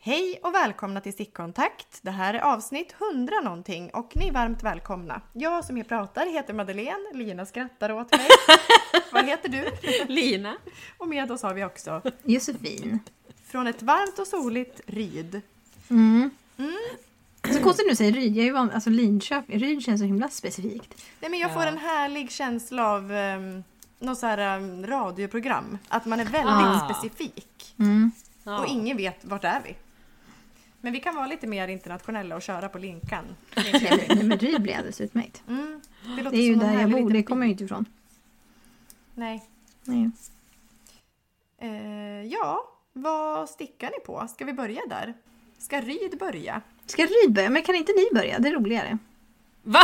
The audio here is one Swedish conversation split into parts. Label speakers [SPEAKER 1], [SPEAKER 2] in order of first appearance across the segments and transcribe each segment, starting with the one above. [SPEAKER 1] Hej och välkomna till Stickkontakt. Det här är avsnitt 100 någonting och ni är varmt välkomna. Jag som er pratar heter Madeleine, Lina skrattar åt mig. Vad heter du?
[SPEAKER 2] Lina.
[SPEAKER 1] Och med oss har vi också
[SPEAKER 3] Josefin.
[SPEAKER 1] från ett varmt och soligt Ryd.
[SPEAKER 3] Mm. Så konstigt nu säger Ryd. Jag är ju van, alltså Linköping. Ryd känns så himla specifikt.
[SPEAKER 1] Nej men jag får
[SPEAKER 2] Ja.
[SPEAKER 1] en härlig känsla av um, något så här ehm, radioprogram. Att man är väldigt
[SPEAKER 2] Ah.
[SPEAKER 1] specifik.
[SPEAKER 3] Mm.
[SPEAKER 2] Ja.
[SPEAKER 1] Och ingen vet vart är vi. Men vi kan vara lite mer internationella och köra på Linkan.
[SPEAKER 3] Trevligt. Nej, Men Ryd blir alldeles utmärkt.
[SPEAKER 1] Mm. låter
[SPEAKER 3] Det är ju
[SPEAKER 1] som någon
[SPEAKER 3] där jag
[SPEAKER 1] härlig
[SPEAKER 3] bor.
[SPEAKER 1] liten
[SPEAKER 3] Det kommer jag ju inte ifrån.
[SPEAKER 1] Nej.
[SPEAKER 3] Nej.
[SPEAKER 1] Eh, ja, vad stickar ni på? Ska vi börja där? Ska Ryd börja?
[SPEAKER 3] Ska Ryd börja? Men kan inte ni börja? Det är roligare.
[SPEAKER 2] Va?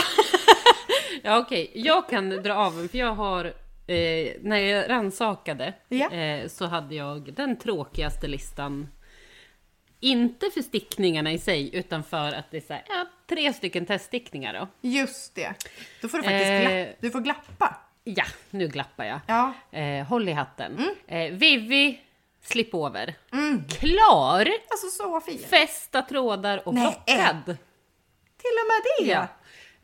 [SPEAKER 2] ja okej, jag kan dra av den för jag har, eh, när jag rannsakade
[SPEAKER 1] Ja.
[SPEAKER 2] eh, så hade jag den tråkigaste listan. Inte för stickningarna i sig utan för att det är så här, ja, tre stycken teststickningar då.
[SPEAKER 1] Just det. Då får du faktiskt
[SPEAKER 2] Eh.
[SPEAKER 1] glappa. Du får glappa.
[SPEAKER 2] Ja, nu glappar jag.
[SPEAKER 1] Ja. Mm.
[SPEAKER 2] Eh, håll i hatten. Eh, Vivi, slipover. Klar!
[SPEAKER 1] Alltså så fin.
[SPEAKER 2] Fästa trådar och
[SPEAKER 1] Nej. eh.
[SPEAKER 2] plockad.
[SPEAKER 1] Till och med det!
[SPEAKER 2] Ja.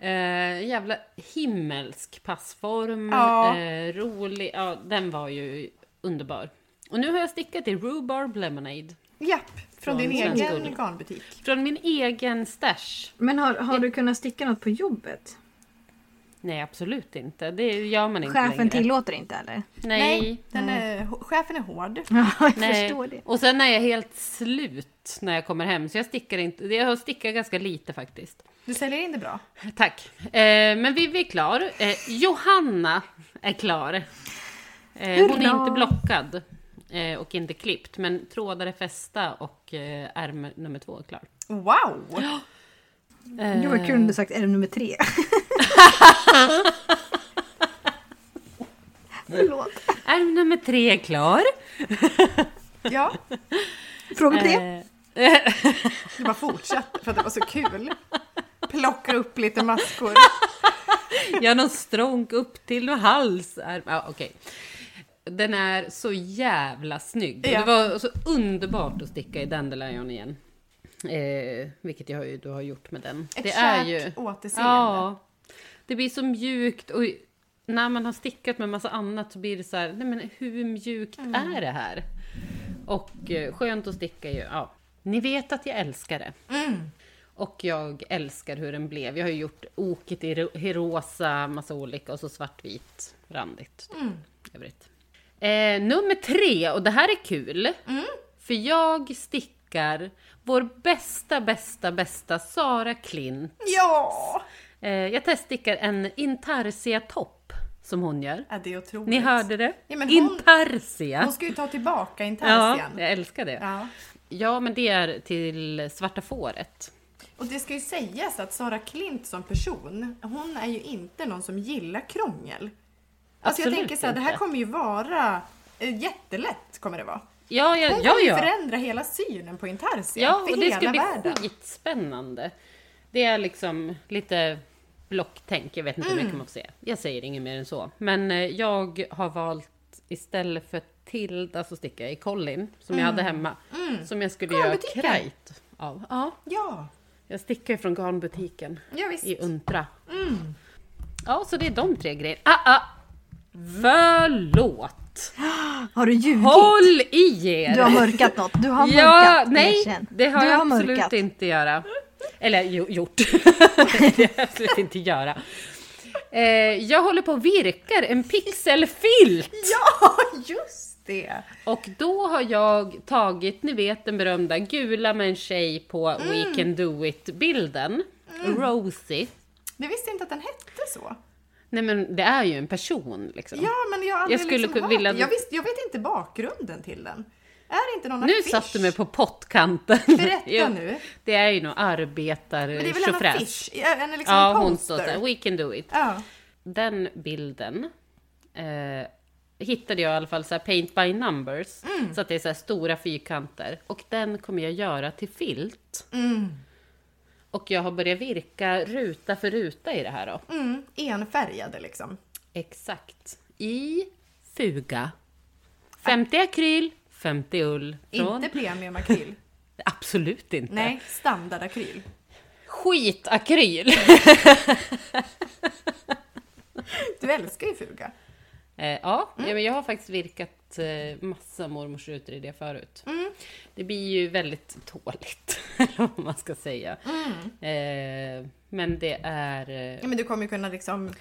[SPEAKER 2] Eh, jävla himmelsk passform.
[SPEAKER 1] Ja.
[SPEAKER 2] Eh, rolig. Ja, den var ju underbar. Och nu har jag stickat i Rhubarb Lemonade.
[SPEAKER 1] Japp, från,
[SPEAKER 2] Från
[SPEAKER 1] din
[SPEAKER 2] Svensk
[SPEAKER 1] egen
[SPEAKER 2] Guld.
[SPEAKER 1] garnbutik.
[SPEAKER 2] Från min egen stash.
[SPEAKER 3] Men har, har du kunnat sticka något på jobbet?
[SPEAKER 2] Nej, absolut inte. Det gör man inte
[SPEAKER 3] Chefen
[SPEAKER 2] längre.
[SPEAKER 3] tillåter inte eller?
[SPEAKER 2] Nej.
[SPEAKER 1] Den är, h- chefen är hård.
[SPEAKER 3] Ja, jag
[SPEAKER 2] Nej.
[SPEAKER 3] förstår det.
[SPEAKER 2] Och sen är jag helt slut när jag kommer hem. Så jag stickar inte. Jag har stickat ganska lite faktiskt.
[SPEAKER 1] Du säljer in det bra.
[SPEAKER 2] Tack. Eh, men Vivi är klar. Eh, Johanna är klar. Eh, hon är
[SPEAKER 3] Hurra!
[SPEAKER 2] inte blockad eh, och inte klippt, men trådar är fästa och eh, ärm nummer två är klar.
[SPEAKER 1] Wow!
[SPEAKER 2] Eh,
[SPEAKER 3] Det var kul om du sagt är det nummer tre. Förlåt.
[SPEAKER 2] Ärm nummer tre är klar.
[SPEAKER 1] Ja,
[SPEAKER 3] Fråga tre.
[SPEAKER 2] Eh, eh,
[SPEAKER 1] du bara fortsatte för att det var så kul. Plocka upp lite maskor.
[SPEAKER 2] Gör någon strånk upp till och hals. Ärm- Ja, okej. Den är så jävla snygg. Och
[SPEAKER 1] Ja.
[SPEAKER 2] Det var så underbart att sticka i Dandelion igen. Eh, vilket jag, ju- du har gjort med den.
[SPEAKER 1] Ett
[SPEAKER 2] det
[SPEAKER 1] kärt
[SPEAKER 2] är ju...
[SPEAKER 1] återseende.
[SPEAKER 2] Ja. Det blir så mjukt och när man har stickat med massa annat så blir det så här, nej men hur mjukt är det här? Och eh, skönt att sticka ju, ja. Ni vet att jag älskar det. Och jag älskar hur den blev. Jag har ju gjort oket i ro- i rosa, massa olika och så svartvit, randigt. typ, Övrigt. Eh, nummer tre, och det här är kul. För jag stickar vår bästa, bästa, bästa Sara Klint
[SPEAKER 1] Ja!
[SPEAKER 2] Eh, jag teststickar en intarsia-topp som hon gör.
[SPEAKER 1] ja! Det är otroligt.
[SPEAKER 2] Ni hörde det?
[SPEAKER 1] Ja, men hon-
[SPEAKER 2] intarsia!
[SPEAKER 1] Hon ska ju ta tillbaka
[SPEAKER 2] ja,
[SPEAKER 1] intarsian.
[SPEAKER 2] jag älskar det. Ja.
[SPEAKER 1] Ja.
[SPEAKER 2] men det är till Svarta fåret.
[SPEAKER 1] Och det ska ju sägas att Sara Klint som person, hon är ju inte någon som gillar krångel. Alltså jag
[SPEAKER 2] Absolut
[SPEAKER 1] tänker så här, det här
[SPEAKER 2] inte.
[SPEAKER 1] kommer ju vara eh, jättelätt kommer det vara.
[SPEAKER 2] Ja,
[SPEAKER 1] Hon
[SPEAKER 2] ja, ja.
[SPEAKER 1] kommer ju
[SPEAKER 2] ja.
[SPEAKER 1] förändra hela synen på intarsia
[SPEAKER 2] ja
[SPEAKER 1] för
[SPEAKER 2] och det ska
[SPEAKER 1] hela
[SPEAKER 2] bli
[SPEAKER 1] världen.
[SPEAKER 2] skitspännande. Det är liksom lite blocktänk. Jag vet inte hur mycket man får säga. Jag säger inget mer än så. Men eh, jag har valt istället för Tilda så stickar jag i Collin som jag
[SPEAKER 1] Mm.
[SPEAKER 2] hade hemma. Som jag skulle göra
[SPEAKER 1] Garnbutiken.
[SPEAKER 2] krajt av. Ja,
[SPEAKER 1] Ja,
[SPEAKER 2] Jag stickar från garnbutiken
[SPEAKER 1] ja visst.
[SPEAKER 2] i Untra.
[SPEAKER 3] Mm.
[SPEAKER 2] Ja, så det är de tre grejerna. Ah, ah.
[SPEAKER 3] Mm.
[SPEAKER 2] Förlåt!
[SPEAKER 3] Har du ljugit?
[SPEAKER 2] Håll i er!
[SPEAKER 3] Du har mörkat något. Du har mörkat.
[SPEAKER 2] ja, nej,
[SPEAKER 3] erkänn.
[SPEAKER 2] det har
[SPEAKER 3] du
[SPEAKER 2] jag
[SPEAKER 3] har
[SPEAKER 2] absolut
[SPEAKER 3] mörkat.
[SPEAKER 2] inte göra. Eller jo, gjort. det har jag absolut inte göra. Eh, jag håller på och virkar en pixelfilt!
[SPEAKER 1] Ja, just det!
[SPEAKER 2] Och då har jag tagit, ni vet den berömda gula med en tjej på
[SPEAKER 3] Mm.
[SPEAKER 2] We Can Do It-bilden. Rosie.
[SPEAKER 1] Jag visste inte att den hette så.
[SPEAKER 2] Nej men det är ju en person liksom.
[SPEAKER 1] Ja, men jag har aldrig
[SPEAKER 2] Jag skulle
[SPEAKER 1] liksom
[SPEAKER 2] ku-
[SPEAKER 1] hört
[SPEAKER 2] vilja-
[SPEAKER 1] det. jag, visst, jag vet inte bakgrunden till den. Är det inte någon
[SPEAKER 2] nu
[SPEAKER 1] affisch?
[SPEAKER 2] satt du mig på pottkanten.
[SPEAKER 1] Berätta
[SPEAKER 2] Jo,
[SPEAKER 1] nu.
[SPEAKER 2] Det är ju någon
[SPEAKER 1] Men det är väl en
[SPEAKER 2] arbetartjofräs.
[SPEAKER 1] affisch? En liksom
[SPEAKER 2] Ja, hon står
[SPEAKER 1] poster?
[SPEAKER 2] såhär, we can do it.
[SPEAKER 1] Ja.
[SPEAKER 2] Den bilden eh, hittade jag i alla fall såhär paint by numbers.
[SPEAKER 1] Mm.
[SPEAKER 2] Så att det är såhär stora fyrkanter. Och den kommer jag göra till filt.
[SPEAKER 1] Mm.
[SPEAKER 2] Och jag har börjat virka ruta för ruta i det här då.
[SPEAKER 1] Mm, enfärgade liksom.
[SPEAKER 2] Exakt. I fuga. 50 akryl, 50 ull. Från
[SPEAKER 1] Inte premiumakryl.
[SPEAKER 2] Absolut inte.
[SPEAKER 1] Nej, standardakryl.
[SPEAKER 2] Skitakryl!
[SPEAKER 1] Du älskar ju fuga.
[SPEAKER 2] Eh, ja,
[SPEAKER 1] Mm.
[SPEAKER 2] ja, men jag har faktiskt virkat eh, massa mormors rutor i det förut.
[SPEAKER 1] Mm.
[SPEAKER 2] Det blir ju väldigt tåligt, eller vad man ska säga.
[SPEAKER 1] Mm.
[SPEAKER 2] Eh, men det är... eh,
[SPEAKER 1] Ja, men du kommer ju kunna liksom...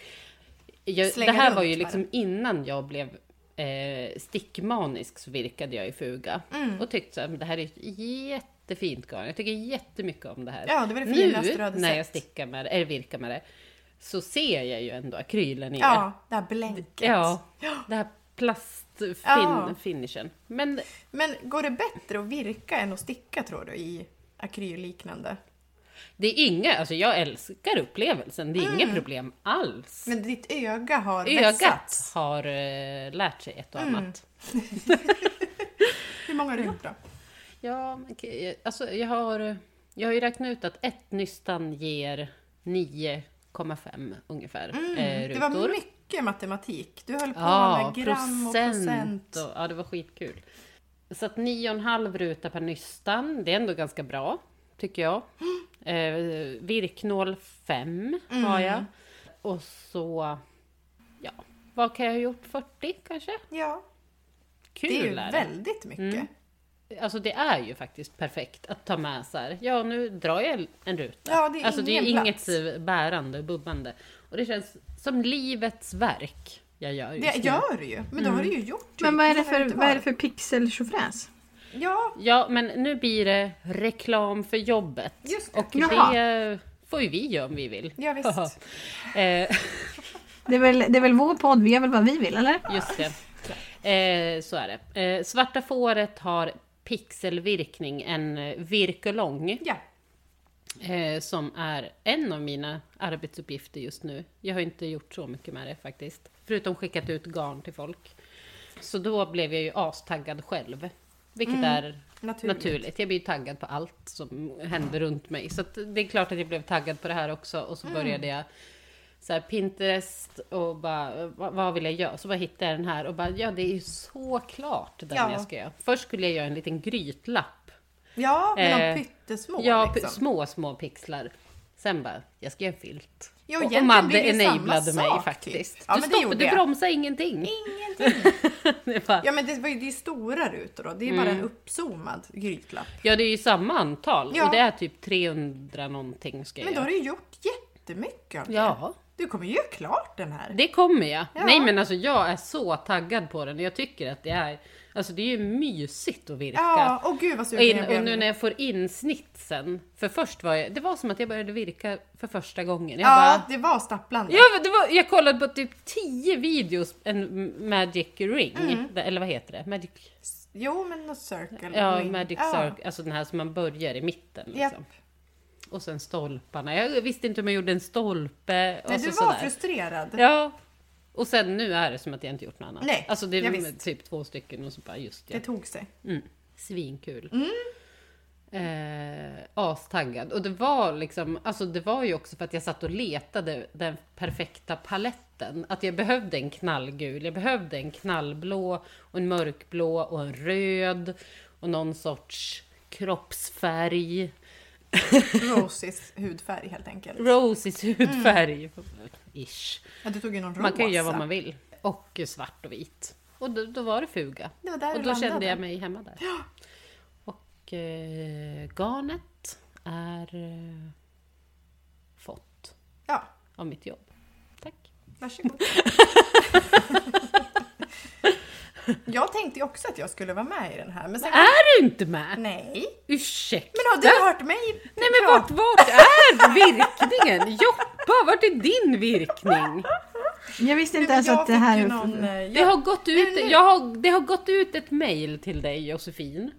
[SPEAKER 2] Jag, det
[SPEAKER 1] Slänga
[SPEAKER 2] här var
[SPEAKER 1] runt
[SPEAKER 2] ju
[SPEAKER 1] bara.
[SPEAKER 2] liksom innan jag blev eh, stickmanisk så virkade jag i fuga.
[SPEAKER 1] Mm.
[SPEAKER 2] Och tyckte så här, men det här är ett jättefint garn. Jag tycker jättemycket om det här.
[SPEAKER 1] Ja, det var det
[SPEAKER 2] nu
[SPEAKER 1] finaste du hade
[SPEAKER 2] när jag
[SPEAKER 1] sett.
[SPEAKER 2] stickar med det, eller virkar med det, så ser jag ju ändå akrylen i
[SPEAKER 1] Ja, det här blänket.
[SPEAKER 2] det. Ja, det här
[SPEAKER 1] Ja.
[SPEAKER 2] plastfinishen. Men
[SPEAKER 1] Men går det bättre att virka än att sticka tror du i akrylliknande?
[SPEAKER 2] det är inga, alltså jag älskar upplevelsen. Det är
[SPEAKER 1] Mm.
[SPEAKER 2] inga problem alls.
[SPEAKER 1] Men ditt öga har
[SPEAKER 2] Ögat
[SPEAKER 1] vässats.
[SPEAKER 2] har eh, lärt sig ett och
[SPEAKER 1] Mm.
[SPEAKER 2] annat.
[SPEAKER 1] Hur många har du gjort då?
[SPEAKER 2] Ja, men k- alltså jag har, jag har ju räknat ut att ett nystan ger 9,5 ungefär eh,
[SPEAKER 1] Mm, det
[SPEAKER 2] rutor.
[SPEAKER 1] var mycket matematik. Du höll på
[SPEAKER 2] ja,
[SPEAKER 1] med gram och procent.
[SPEAKER 2] och, ja, det var skitkul. Så att 9,5 ruta per nystan, det är ändå ganska bra, tycker jag. Eh, virknål 5 har
[SPEAKER 1] Mm.
[SPEAKER 2] jag. Och så, ja, vad kan jag ha gjort? 40 kanske?
[SPEAKER 1] Ja,
[SPEAKER 2] Kul
[SPEAKER 1] det är ju
[SPEAKER 2] är det.
[SPEAKER 1] väldigt mycket.
[SPEAKER 2] Alltså det är ju faktiskt perfekt att ta med så här. Ja, nu drar jag en ruta.
[SPEAKER 1] Ja, det är
[SPEAKER 2] alltså det är
[SPEAKER 1] ingen
[SPEAKER 2] inget
[SPEAKER 1] plats.
[SPEAKER 2] bärande och bubbande. Och det känns som livets verk jag gör just Mm.
[SPEAKER 1] Det
[SPEAKER 2] nu.
[SPEAKER 1] gör du ju, men då har du ju gjort
[SPEAKER 3] Men vad är det
[SPEAKER 1] har
[SPEAKER 3] för,
[SPEAKER 1] inte
[SPEAKER 3] vad är det
[SPEAKER 1] varit.
[SPEAKER 3] för pixeltjofräs?
[SPEAKER 1] Ja,
[SPEAKER 2] Ja, men nu blir det reklam för jobbet.
[SPEAKER 1] Just det.
[SPEAKER 2] och
[SPEAKER 3] Jaha.
[SPEAKER 2] det får ju vi göra om vi vill.
[SPEAKER 1] Ja, visst.
[SPEAKER 2] Eh,
[SPEAKER 3] Det är, väl, det är väl vår podd, vi gör väl vad vi vill eller?
[SPEAKER 2] Just det. Eh, så är det. Eh, Svarta fåret har pixelvirkning, en eh, virkelång.
[SPEAKER 1] ja.
[SPEAKER 2] eh, som är en av mina arbetsuppgifter just nu. Jag har inte gjort så mycket med det faktiskt, förutom skickat ut garn till folk. Så då blev jag ju astaggad själv, vilket är
[SPEAKER 1] naturligt.
[SPEAKER 2] naturligt. Jag blir ju taggad på allt som händer runt mig. Så att det är klart att jag blev taggad på det här också och så började jag så här Pinterest och bara, vad, vad vill jag göra? Så bara hittade jag den här och bara, ja det är ju så klart den
[SPEAKER 1] Ja.
[SPEAKER 2] jag ska göra. Först skulle jag göra en liten grytlapp
[SPEAKER 1] ja, men de
[SPEAKER 2] Eh,
[SPEAKER 1] pyttesmå
[SPEAKER 2] Ja, p-
[SPEAKER 1] liksom.
[SPEAKER 2] små, små pixlar. Sen bara, jag ska göra en filt.
[SPEAKER 1] Ja,
[SPEAKER 2] Och- och
[SPEAKER 1] egentligen
[SPEAKER 2] Madde
[SPEAKER 1] blir det ju samma
[SPEAKER 2] enablade mig
[SPEAKER 1] sak,
[SPEAKER 2] faktiskt.
[SPEAKER 1] typ. Ja,
[SPEAKER 2] du
[SPEAKER 1] men det
[SPEAKER 2] stopp,
[SPEAKER 1] gjorde
[SPEAKER 2] du
[SPEAKER 1] jag.
[SPEAKER 2] bromsar ingenting.
[SPEAKER 1] Ingenting.
[SPEAKER 2] Det bara,
[SPEAKER 1] Ja, men det, var ju, det är ju stora rutor då. Det är
[SPEAKER 2] Mm.
[SPEAKER 1] bara en uppzoomad grytlapp.
[SPEAKER 2] ja, det är ju samma antal
[SPEAKER 1] Ja.
[SPEAKER 2] och det är typ 300 någonting ska jag
[SPEAKER 1] Men då har
[SPEAKER 2] göra.
[SPEAKER 1] du ju gjort jättemycket av det.
[SPEAKER 2] Ja.
[SPEAKER 1] Du kommer ju göra klart den här.
[SPEAKER 2] Det kommer jag.
[SPEAKER 1] Ja.
[SPEAKER 2] Nej men alltså jag är så taggad på den. Jag tycker att det är, alltså det är ju mysigt att virka.
[SPEAKER 1] Ja, och gud vad
[SPEAKER 2] Och,
[SPEAKER 1] sugen
[SPEAKER 2] in,
[SPEAKER 1] jag blev.
[SPEAKER 2] och nu när jag får in snitsen, för först var jag, det var som att jag började virka för första gången. Jag bara,
[SPEAKER 1] Ja, det var stapplande.
[SPEAKER 2] Ja, men det var, jag kollade på typ 10 videos, en Magic Ring,
[SPEAKER 1] Mm.
[SPEAKER 2] eller vad heter det? Magic,
[SPEAKER 1] Jo, men något circle.
[SPEAKER 2] ja,
[SPEAKER 1] ring.
[SPEAKER 2] Magic
[SPEAKER 1] Ja.
[SPEAKER 2] Circle, alltså den här som man börjar i mitten.
[SPEAKER 1] Japp.
[SPEAKER 2] Liksom. Och sen stolparna, jag visste inte hur man gjorde en stolpe. Och
[SPEAKER 1] Nej,
[SPEAKER 2] så,
[SPEAKER 1] du var
[SPEAKER 2] sådär.
[SPEAKER 1] frustrerad.
[SPEAKER 2] Ja. Och sen nu är det som att jag inte gjort något annat.
[SPEAKER 1] Nej,
[SPEAKER 2] alltså det
[SPEAKER 1] ja,
[SPEAKER 2] är
[SPEAKER 1] visst.
[SPEAKER 2] typ två stycken och så bara just
[SPEAKER 1] Det
[SPEAKER 2] ja.
[SPEAKER 1] tog sig.
[SPEAKER 2] Mm. Svinkul. Eh, astaggad. Och det var liksom, alltså det var ju också för att jag satt och letade den perfekta paletten. Att jag behövde en knallgul, jag behövde en knallblå och en mörkblå och en röd och någon sorts kroppsfärg.
[SPEAKER 1] Rosies hudfärg helt enkelt.
[SPEAKER 2] Roses hudfärg. Ish.
[SPEAKER 1] Ja, du tog ju någon rosa.
[SPEAKER 2] Man kan ju göra vad man vill. Och svart och vit. Och då, då var det fuga.
[SPEAKER 1] Det var där
[SPEAKER 2] och
[SPEAKER 1] det
[SPEAKER 2] då kände
[SPEAKER 1] landade.
[SPEAKER 2] jag mig hemma där. Och eh, garnet är eh, fått
[SPEAKER 1] Ja,
[SPEAKER 2] av mitt jobb. Tack.
[SPEAKER 1] varsågod. jag tänkte ju också att jag skulle vara med i den här, men sen...
[SPEAKER 2] Är du inte med?
[SPEAKER 1] Nej!
[SPEAKER 2] Ursäkta?
[SPEAKER 1] Men har du hört mig
[SPEAKER 2] Nej men vart, vart är virkningen? Joppa, vart är din virkning?
[SPEAKER 3] Jag visste inte
[SPEAKER 1] Men
[SPEAKER 3] ens
[SPEAKER 1] jag
[SPEAKER 3] att det här...
[SPEAKER 1] fick
[SPEAKER 3] är-
[SPEAKER 1] ju någon, eh,
[SPEAKER 2] Det
[SPEAKER 1] jag,
[SPEAKER 2] har gått ut,
[SPEAKER 1] Nej, nu-
[SPEAKER 2] jag har, det har gått ut ett mejl till dig Josefin.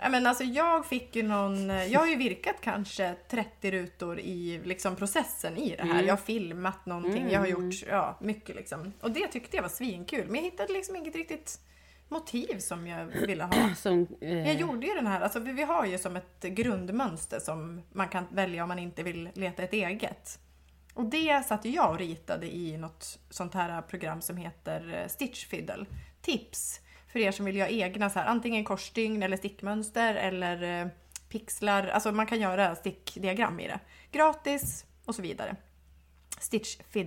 [SPEAKER 1] ja, men alltså jag fick ju någon, eh, jag har ju virkat kanske 30 rutor i liksom processen i det här.
[SPEAKER 2] Mm.
[SPEAKER 1] Jag har filmat någonting, jag har gjort ja, mycket liksom. Och det tyckte jag var svinkul, men jag hittade liksom inget riktigt motiv som jag ville ha.
[SPEAKER 2] Som,
[SPEAKER 1] Jag
[SPEAKER 2] eh,
[SPEAKER 1] gjorde ju den här, alltså vi vi har ju som ett grundmönster som man kan välja om man inte vill leta ett eget. Och det satt ju jag och ritade i något sånt här program som heter eh, Stitch Fiddle. Tips! för er som vill göra egna så här, antingen korsstygn eller stickmönster eller eh, pixlar. Alltså man kan göra stickdiagram i det. Gratis och så vidare.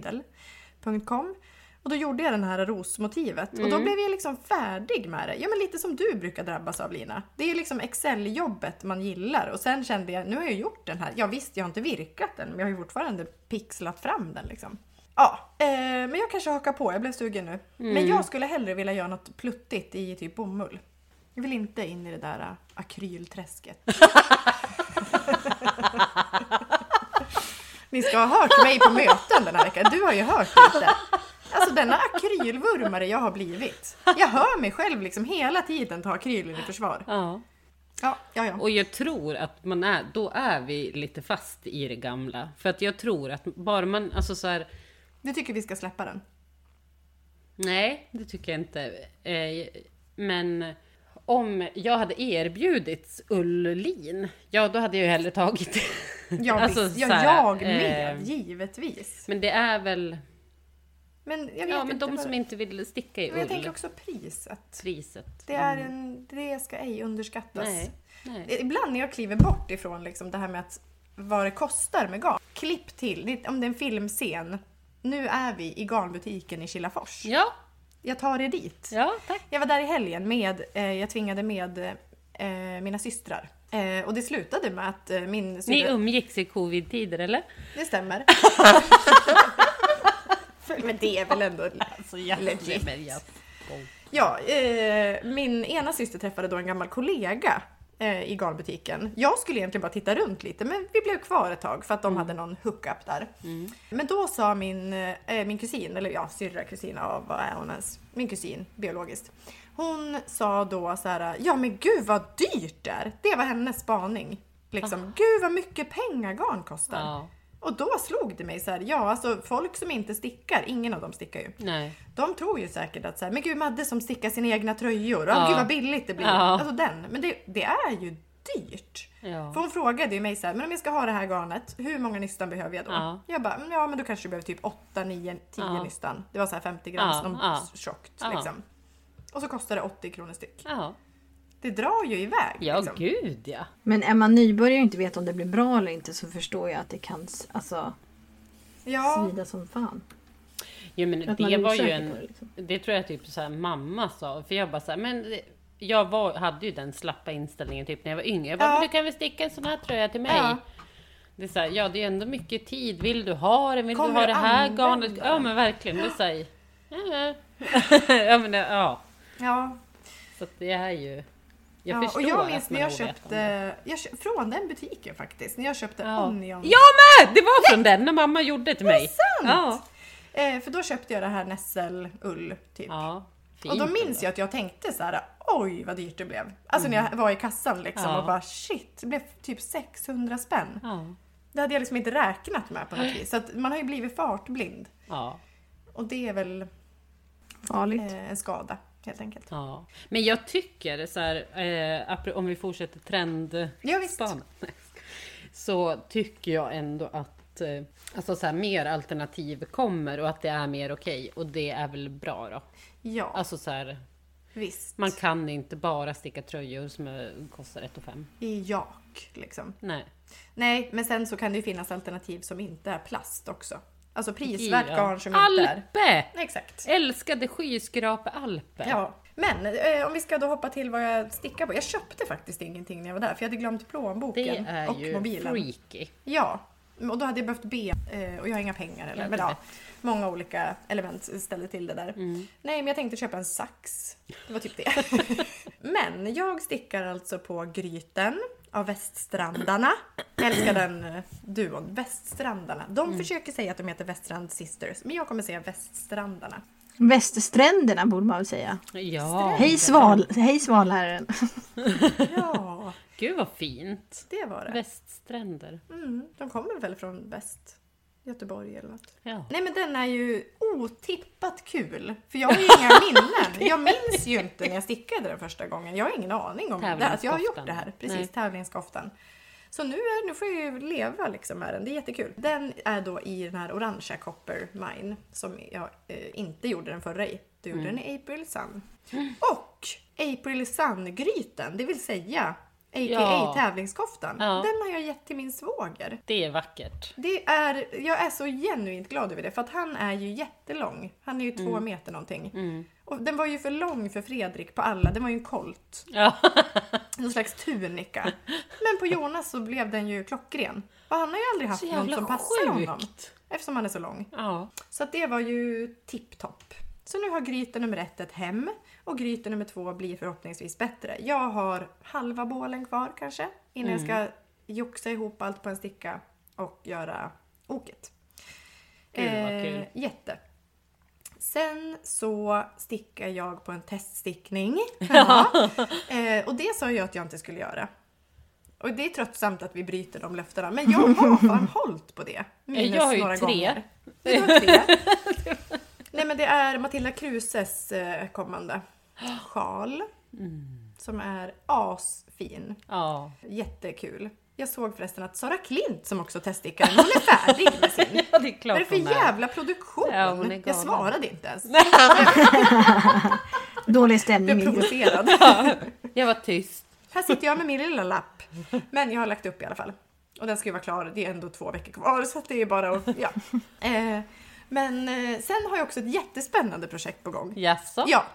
[SPEAKER 1] Stitchfiddle.com och då gjorde jag den här rosmotivet och då blev jag liksom färdig med det. Ja men lite som du brukar drabbas av Lina. Det är liksom Excel-jobbet man gillar och sen kände jag nu har jag gjort den här. Ja visst, jag har inte virkat den men jag har ju fortfarande pixlat fram den liksom. Ja, eh, men jag kanske hakar på. Jag blev sugen nu. Men jag skulle hellre vilja göra något pluttigt i typ bomull. Jag vill inte in i det där eh, akrylträsket. Ni ska ha hört mig på möten den här veckan. Du har ju hört lite. Alltså denna akrylvurmare jag har blivit. Jag hör mig själv liksom hela tiden ta akrylen i försvar.
[SPEAKER 2] Ja.
[SPEAKER 1] Ja, ja, ja.
[SPEAKER 2] Och jag tror att man är, då är vi lite fast i det gamla. För att jag tror att bara man, alltså så här,
[SPEAKER 1] Du tycker vi ska släppa den?
[SPEAKER 2] nej, det tycker jag inte. Eh, men om jag hade erbjudits ullin, ja då hade jag ju hellre tagit det.
[SPEAKER 1] Ja,
[SPEAKER 2] Alltså,
[SPEAKER 1] visst.
[SPEAKER 2] så
[SPEAKER 1] Ja,
[SPEAKER 2] här,
[SPEAKER 1] jag med,
[SPEAKER 2] eh,
[SPEAKER 1] givetvis.
[SPEAKER 2] Men det är väl,
[SPEAKER 1] Men jag vet
[SPEAKER 2] ja
[SPEAKER 1] inte.
[SPEAKER 2] men de
[SPEAKER 1] vad-
[SPEAKER 2] som inte vill sticka i
[SPEAKER 1] Men jag tänker
[SPEAKER 2] ull,
[SPEAKER 1] också priset.
[SPEAKER 2] priset.
[SPEAKER 1] Det, är en, det ska ej underskattas. Eh,
[SPEAKER 2] Nej, nej.
[SPEAKER 1] Ibland när jag kliver bort ifrån liksom det här med att vad det kostar med garn. Klipp till, det- om det är en filmscen. Nu är vi i garnbutiken i Kilafors.
[SPEAKER 2] Ja,
[SPEAKER 1] Jag tar er dit.
[SPEAKER 2] ja tack.
[SPEAKER 1] Jag var där i helgen med, eh, jag tvingade med eh, mina systrar. Eh, och det slutade med att eh, min
[SPEAKER 2] Ni um-
[SPEAKER 1] syster...
[SPEAKER 2] umgicks i covid-tider eller?
[SPEAKER 1] Det stämmer. Men det är väl ändå legit.
[SPEAKER 2] Men jag,
[SPEAKER 1] Ja, eh, min ena syster träffade då en gammal kollega eh, i garnbutiken. Jag skulle egentligen bara titta runt lite men vi blev kvar ett tag för att de hade någon hookup där. Men då sa min, eh, min kusin, eller ja syrra kusin, ja, vad är hon ens? Min kusin biologiskt. Hon sa då så här, ja men gud vad dyrt det är. Det var hennes spaning. Liksom, gud vad mycket pengar garn kostar.
[SPEAKER 2] Ja.
[SPEAKER 1] Och då slog det mig så här, ja alltså folk som inte stickar, ingen av dem stickar ju.
[SPEAKER 2] nej.
[SPEAKER 1] De tror ju säkert att så här, men gud Madde som stickar sina egna tröjor, ja.
[SPEAKER 2] Ja.
[SPEAKER 1] gud vad billigt det blir.
[SPEAKER 2] Ja.
[SPEAKER 1] Alltså den, men det, det är ju dyrt.
[SPEAKER 2] Ja.
[SPEAKER 1] För hon frågade ju mig så här, men om jag ska ha det här garnet, hur många nystan behöver jag då?
[SPEAKER 2] Ja.
[SPEAKER 1] Jag bara, "Mm, ja men då kanske du behöver typ 8, 9, 10
[SPEAKER 2] Ja.
[SPEAKER 1] nystan. Det var så här 50 grams,
[SPEAKER 2] Ja,
[SPEAKER 1] någon
[SPEAKER 2] ja.
[SPEAKER 1] tjockt
[SPEAKER 2] Ja.
[SPEAKER 1] liksom. Och så kostar det 80 kronor styck.
[SPEAKER 2] Ja,
[SPEAKER 1] Det drar ju iväg.
[SPEAKER 2] ja
[SPEAKER 1] liksom.
[SPEAKER 2] gud ja.
[SPEAKER 3] Men är man nybörjare och inte vet om det blir bra eller inte så förstår jag att det kan s- alltså,
[SPEAKER 1] ja.
[SPEAKER 3] svida som fan.
[SPEAKER 2] Jo, men
[SPEAKER 3] Att man
[SPEAKER 2] det
[SPEAKER 3] är
[SPEAKER 2] var ju
[SPEAKER 3] osäker
[SPEAKER 2] en...
[SPEAKER 3] på det, liksom.
[SPEAKER 2] Det tror jag typ så här mamma sa. För jag bara så här, men det- jag var, hade ju den slappa inställningen typ när jag var yngre. Jag bara,
[SPEAKER 1] Ja.
[SPEAKER 2] men du kan väl sticka en sån här tröja till mig?
[SPEAKER 1] Ja.
[SPEAKER 2] Det är så här, ja det är ändå mycket tid. Vill du ha den? Vill
[SPEAKER 1] Kommer
[SPEAKER 2] du ha
[SPEAKER 1] du
[SPEAKER 2] det här
[SPEAKER 1] använda
[SPEAKER 2] garnet?
[SPEAKER 1] den?
[SPEAKER 2] Ja men verkligen. Det är så här, ja, ja. ja, men, det- ja.
[SPEAKER 1] ja.
[SPEAKER 2] Så att det är ju... Jag
[SPEAKER 1] ja.
[SPEAKER 2] förstår
[SPEAKER 1] Och jag minns
[SPEAKER 2] att man
[SPEAKER 1] när jag
[SPEAKER 2] är ovetande.
[SPEAKER 1] köpte, jag köpte, från den butiken faktiskt, när jag köpte
[SPEAKER 2] Ja.
[SPEAKER 1] Onion.
[SPEAKER 2] Jag med! Det var från den när mamma gjorde till mig.
[SPEAKER 1] sant?
[SPEAKER 2] Ja.
[SPEAKER 1] Eh, för då köpte jag det här nässelull typ.
[SPEAKER 2] ja
[SPEAKER 1] Och då
[SPEAKER 2] fint ändå.
[SPEAKER 1] minns jag att jag tänkte så här: oj vad dyrt det blev. Alltså när jag var i kassan liksom
[SPEAKER 2] Mm. Ja.
[SPEAKER 1] och bara shit, det blev typ 600 spänn.
[SPEAKER 2] Ja.
[SPEAKER 1] Det hade jag liksom inte räknat med på något vis. Så att man har ju blivit fartblind.
[SPEAKER 2] ja.
[SPEAKER 1] Och det är väl
[SPEAKER 3] Farligt.
[SPEAKER 1] eh, en skada helt enkelt.
[SPEAKER 2] Ja, men jag tycker så här, eh, apro- om vi fortsätter trend
[SPEAKER 1] Ja, visst.
[SPEAKER 2] spanan, så tycker jag ändå att eh, alltså så här, mer alternativ kommer och att det är mer okej och det är väl bra då.
[SPEAKER 1] Ja,
[SPEAKER 2] Alltså så här,
[SPEAKER 1] visst.
[SPEAKER 2] man kan inte bara sticka tröjor som eh, kostar 1 5.
[SPEAKER 1] I jak liksom.
[SPEAKER 2] Nej.
[SPEAKER 1] Nej, men sen så kan det ju finnas alternativ som inte är plast också. Alltså prisvärt
[SPEAKER 2] Ja.
[SPEAKER 1] garn som inte är...
[SPEAKER 2] Alpe!
[SPEAKER 1] Exakt.
[SPEAKER 2] Älskade skyskrapa-Alpe.
[SPEAKER 1] Ja. Men eh, om vi ska då hoppa till vad jag stickar på. Jag köpte faktiskt ingenting när jag var där för jag hade glömt plånboken
[SPEAKER 2] Det är
[SPEAKER 1] och
[SPEAKER 2] ju
[SPEAKER 1] mobilen.
[SPEAKER 2] freaky.
[SPEAKER 1] Ja, och då hade jag behövt be eh, och jag har inga pengar. Eller,
[SPEAKER 2] Ja,
[SPEAKER 1] men,
[SPEAKER 2] jag
[SPEAKER 1] ja,
[SPEAKER 2] vet.
[SPEAKER 1] många olika element ställde till det där. Nej, men jag tänkte köpa en sax. Det var typ det. men jag stickar alltså på Gryten av Väststrandarna. Jag älskar den eh, duon, Väststrandarna. De försöker säga att de heter Väststrand Sisters, men jag kommer säga Väststrandarna.
[SPEAKER 3] Väststränderna borde man väl säga.
[SPEAKER 2] Ja,
[SPEAKER 3] Hej, sval, hej svalherren.
[SPEAKER 1] Ja,
[SPEAKER 2] gud vad fint.
[SPEAKER 1] det var det.
[SPEAKER 2] Väststränder.
[SPEAKER 1] Mm, de kommer väl från väst? Göteborg eller något.
[SPEAKER 2] Ja.
[SPEAKER 1] Nej men den är ju otippat kul. För jag har ju inga minnen. Jag minns ju inte när jag stickade den första gången. Jag har ingen aning om det, att jag har gjort
[SPEAKER 2] Tävlingskoftan.
[SPEAKER 1] det här. Precis,
[SPEAKER 2] Nej.
[SPEAKER 1] tävlingskoftan. Så nu, är, nu får jag ju leva liksom med den. Det är jättekul. Den är då i den här orangea Copper Mine som jag eh, inte gjorde den förra i. Du gjorde
[SPEAKER 2] Mm.
[SPEAKER 1] en April Sun. Och April Sun-gryten, det vill säga a.k.a.
[SPEAKER 2] Ja.
[SPEAKER 1] tävlingskoftan.
[SPEAKER 2] Ja.
[SPEAKER 1] Den har jag gett till min svåger.
[SPEAKER 2] Det är vackert.
[SPEAKER 1] Det är, jag är så genuint glad över det för att han är ju jättelång. Han är ju två
[SPEAKER 2] Mm.
[SPEAKER 1] meter någonting. Och den var ju för lång för Fredrik på alla, den var ju en kolt.
[SPEAKER 2] Ja.
[SPEAKER 1] Någon slags tunika. Men på Jonas så blev den ju klockren. Och han har ju aldrig haft
[SPEAKER 2] Så
[SPEAKER 1] någon
[SPEAKER 2] jävla
[SPEAKER 1] som passar honom.
[SPEAKER 2] sjukt.
[SPEAKER 1] Eftersom han är så lång.
[SPEAKER 2] Ja.
[SPEAKER 1] Så att det var ju tipptopp. Så nu har gryta nummer ett ett hem och gryta nummer två blir förhoppningsvis bättre. Jag har halva bålen kvar kanske innan
[SPEAKER 2] Mm.
[SPEAKER 1] jag ska joxa ihop allt på en sticka och göra oket. Eh,
[SPEAKER 2] Gud, vad kul.
[SPEAKER 1] jätte. Sen så stickar jag på en teststickning. Eh, och det sa jag att jag inte skulle göra. Och det är tröttsamt att vi bryter de löftena, men jag har fan hållit på det. Minus
[SPEAKER 2] Eh, Jag har ju
[SPEAKER 1] några
[SPEAKER 2] tre.
[SPEAKER 1] gånger. Det var tre. Nej men det är Matilda Kruses eh, kommande sjal.
[SPEAKER 2] Mm.
[SPEAKER 1] Som är asfin.
[SPEAKER 2] ja.
[SPEAKER 1] Jättekul. Jag såg förresten att Sara Klint som också teststickar, hon är färdig med sin.
[SPEAKER 2] Ja, det är klart
[SPEAKER 1] Vad är det för
[SPEAKER 2] hon är.
[SPEAKER 1] jävla produktion?
[SPEAKER 2] Ja, hon är
[SPEAKER 1] jag
[SPEAKER 2] galen.
[SPEAKER 1] svarade inte ens.
[SPEAKER 3] Dålig
[SPEAKER 1] Jag
[SPEAKER 3] stämning.
[SPEAKER 1] blev provocerad.
[SPEAKER 2] Jag var tyst.
[SPEAKER 1] Här sitter jag med min lilla lapp. Men jag har lagt upp i alla fall. Och den ska ju vara klar, det är ändå två veckor kvar så att det är bara att, ja. Eh, men eh, sen har jag också ett jättespännande projekt på gång.
[SPEAKER 2] Jaså?
[SPEAKER 1] Ja.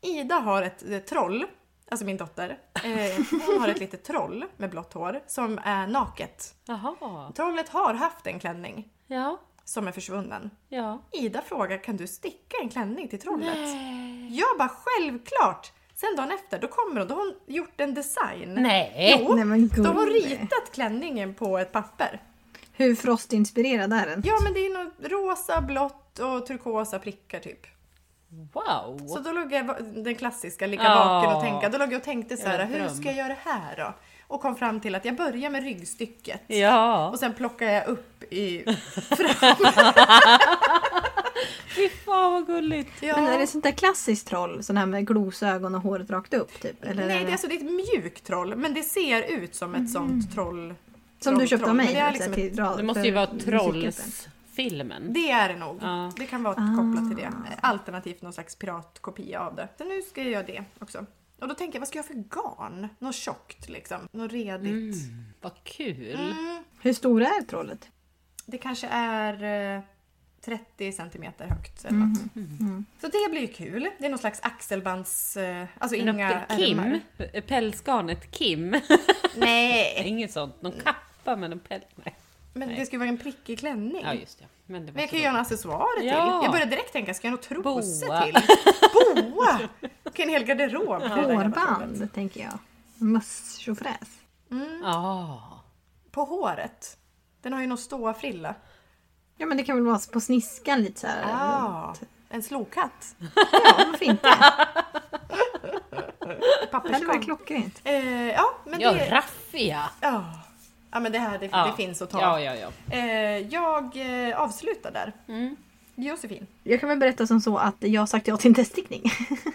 [SPEAKER 1] Ida har ett eh, troll, alltså min dotter. Eh, hon har ett litet troll med blått hår som är naket.
[SPEAKER 2] Jaha.
[SPEAKER 1] Trollet har haft en klänning
[SPEAKER 2] Ja.
[SPEAKER 1] som är försvunnen.
[SPEAKER 2] Ja.
[SPEAKER 1] Ida frågar kan du sticka en klänning till trollet?
[SPEAKER 2] Nej.
[SPEAKER 1] Jag bara självklart! Sen dagen efter då kommer hon, då har hon gjort en design.
[SPEAKER 2] Nej.
[SPEAKER 1] Jo,
[SPEAKER 3] Nej, men
[SPEAKER 1] då har hon
[SPEAKER 3] gud.
[SPEAKER 1] ritat klänningen på ett papper.
[SPEAKER 3] Hur frostinspirerad är den?
[SPEAKER 1] Ja men det är något rosa, blått och turkosa prickar typ.
[SPEAKER 2] Wow.
[SPEAKER 1] Så då låg jag, den klassiska, ligga
[SPEAKER 2] Ja.
[SPEAKER 1] vaken och tänka. Då låg jag och tänkte så här,
[SPEAKER 2] Jävla
[SPEAKER 1] hur
[SPEAKER 2] dröm.
[SPEAKER 1] ska jag göra det här då? Och kom fram till att jag börjar med ryggstycket.
[SPEAKER 2] Ja.
[SPEAKER 1] Och sen plockar jag upp i...
[SPEAKER 2] Fy fan vad gulligt.
[SPEAKER 1] Ja.
[SPEAKER 3] Men är det sånt där klassiskt troll? Sån här med glosögon och håret rakt upp? Typ? Eller
[SPEAKER 1] Nej,
[SPEAKER 3] är
[SPEAKER 1] det är, alltså, det är ett mjukt troll, men det ser ut som ett sånt troll.
[SPEAKER 3] Mm. som du köpte
[SPEAKER 1] troll,
[SPEAKER 3] av mig? alltså, typ-
[SPEAKER 1] men Det är,
[SPEAKER 3] eller
[SPEAKER 1] liksom
[SPEAKER 3] så här
[SPEAKER 1] ett,
[SPEAKER 3] till
[SPEAKER 2] Det måste
[SPEAKER 3] dra-
[SPEAKER 2] ju
[SPEAKER 3] för
[SPEAKER 2] vara
[SPEAKER 3] musikhjälpen.
[SPEAKER 2] Trolls-filmen.
[SPEAKER 1] det är det nog.
[SPEAKER 2] Ja.
[SPEAKER 1] Det kan vara kopplat till det.
[SPEAKER 3] Ah.
[SPEAKER 1] Alternativt någon slags piratkopia av det. Så nu ska jag göra det också. Och då tänker jag, vad ska jag ha för garn? Något tjockt liksom. Något redigt.
[SPEAKER 2] Mm. Vad kul.
[SPEAKER 1] Mm,
[SPEAKER 3] Hur stora är trollet?
[SPEAKER 1] Det kanske är eh, 30 centimeter högt eller
[SPEAKER 3] Mm.
[SPEAKER 1] något. Så det blir ju kul. Det är någon slags axelbands... eh, Alltså
[SPEAKER 2] Men
[SPEAKER 1] inga
[SPEAKER 2] uppe- Kim,
[SPEAKER 1] ärmar.
[SPEAKER 2] pälsgarnet Kim.
[SPEAKER 1] Nej!
[SPEAKER 2] Inget sånt, någon kappa men en päls... Nej.
[SPEAKER 1] Men det ska ju vara en prickig klänning.
[SPEAKER 2] Ja just det. Men det var
[SPEAKER 1] Men jag
[SPEAKER 2] så
[SPEAKER 1] kan ju
[SPEAKER 2] bra.
[SPEAKER 1] göra en accessoar till.
[SPEAKER 2] Ja.
[SPEAKER 1] Jag började direkt tänka, ska jag ha något trose
[SPEAKER 2] Boa.
[SPEAKER 1] till? Boa! Och en hel garderob. till det där jävla trollet.
[SPEAKER 3] Hårband, tänker jag. Möss tjofräs.
[SPEAKER 2] Ah.
[SPEAKER 1] På håret. Den har ju någon ståfrilla.
[SPEAKER 3] Ja, men det kan väl vara på sniskan lite så här.
[SPEAKER 1] Ah, en slokhatt.
[SPEAKER 3] Ja, varför inte? Det hade varit
[SPEAKER 1] Pappersgång.
[SPEAKER 3] klockrent.
[SPEAKER 1] Eh, ja, men
[SPEAKER 2] Ja,
[SPEAKER 1] det...
[SPEAKER 2] raffia!
[SPEAKER 1] Ja. ja, men det här det,
[SPEAKER 2] Ja.
[SPEAKER 1] det finns att ta.
[SPEAKER 2] Ja, ja, Mm. ja.
[SPEAKER 1] Eh, jag eh, avslutar där. Josefin.
[SPEAKER 3] Jag kan väl berätta som så att jag har sagt ja till en teststickning.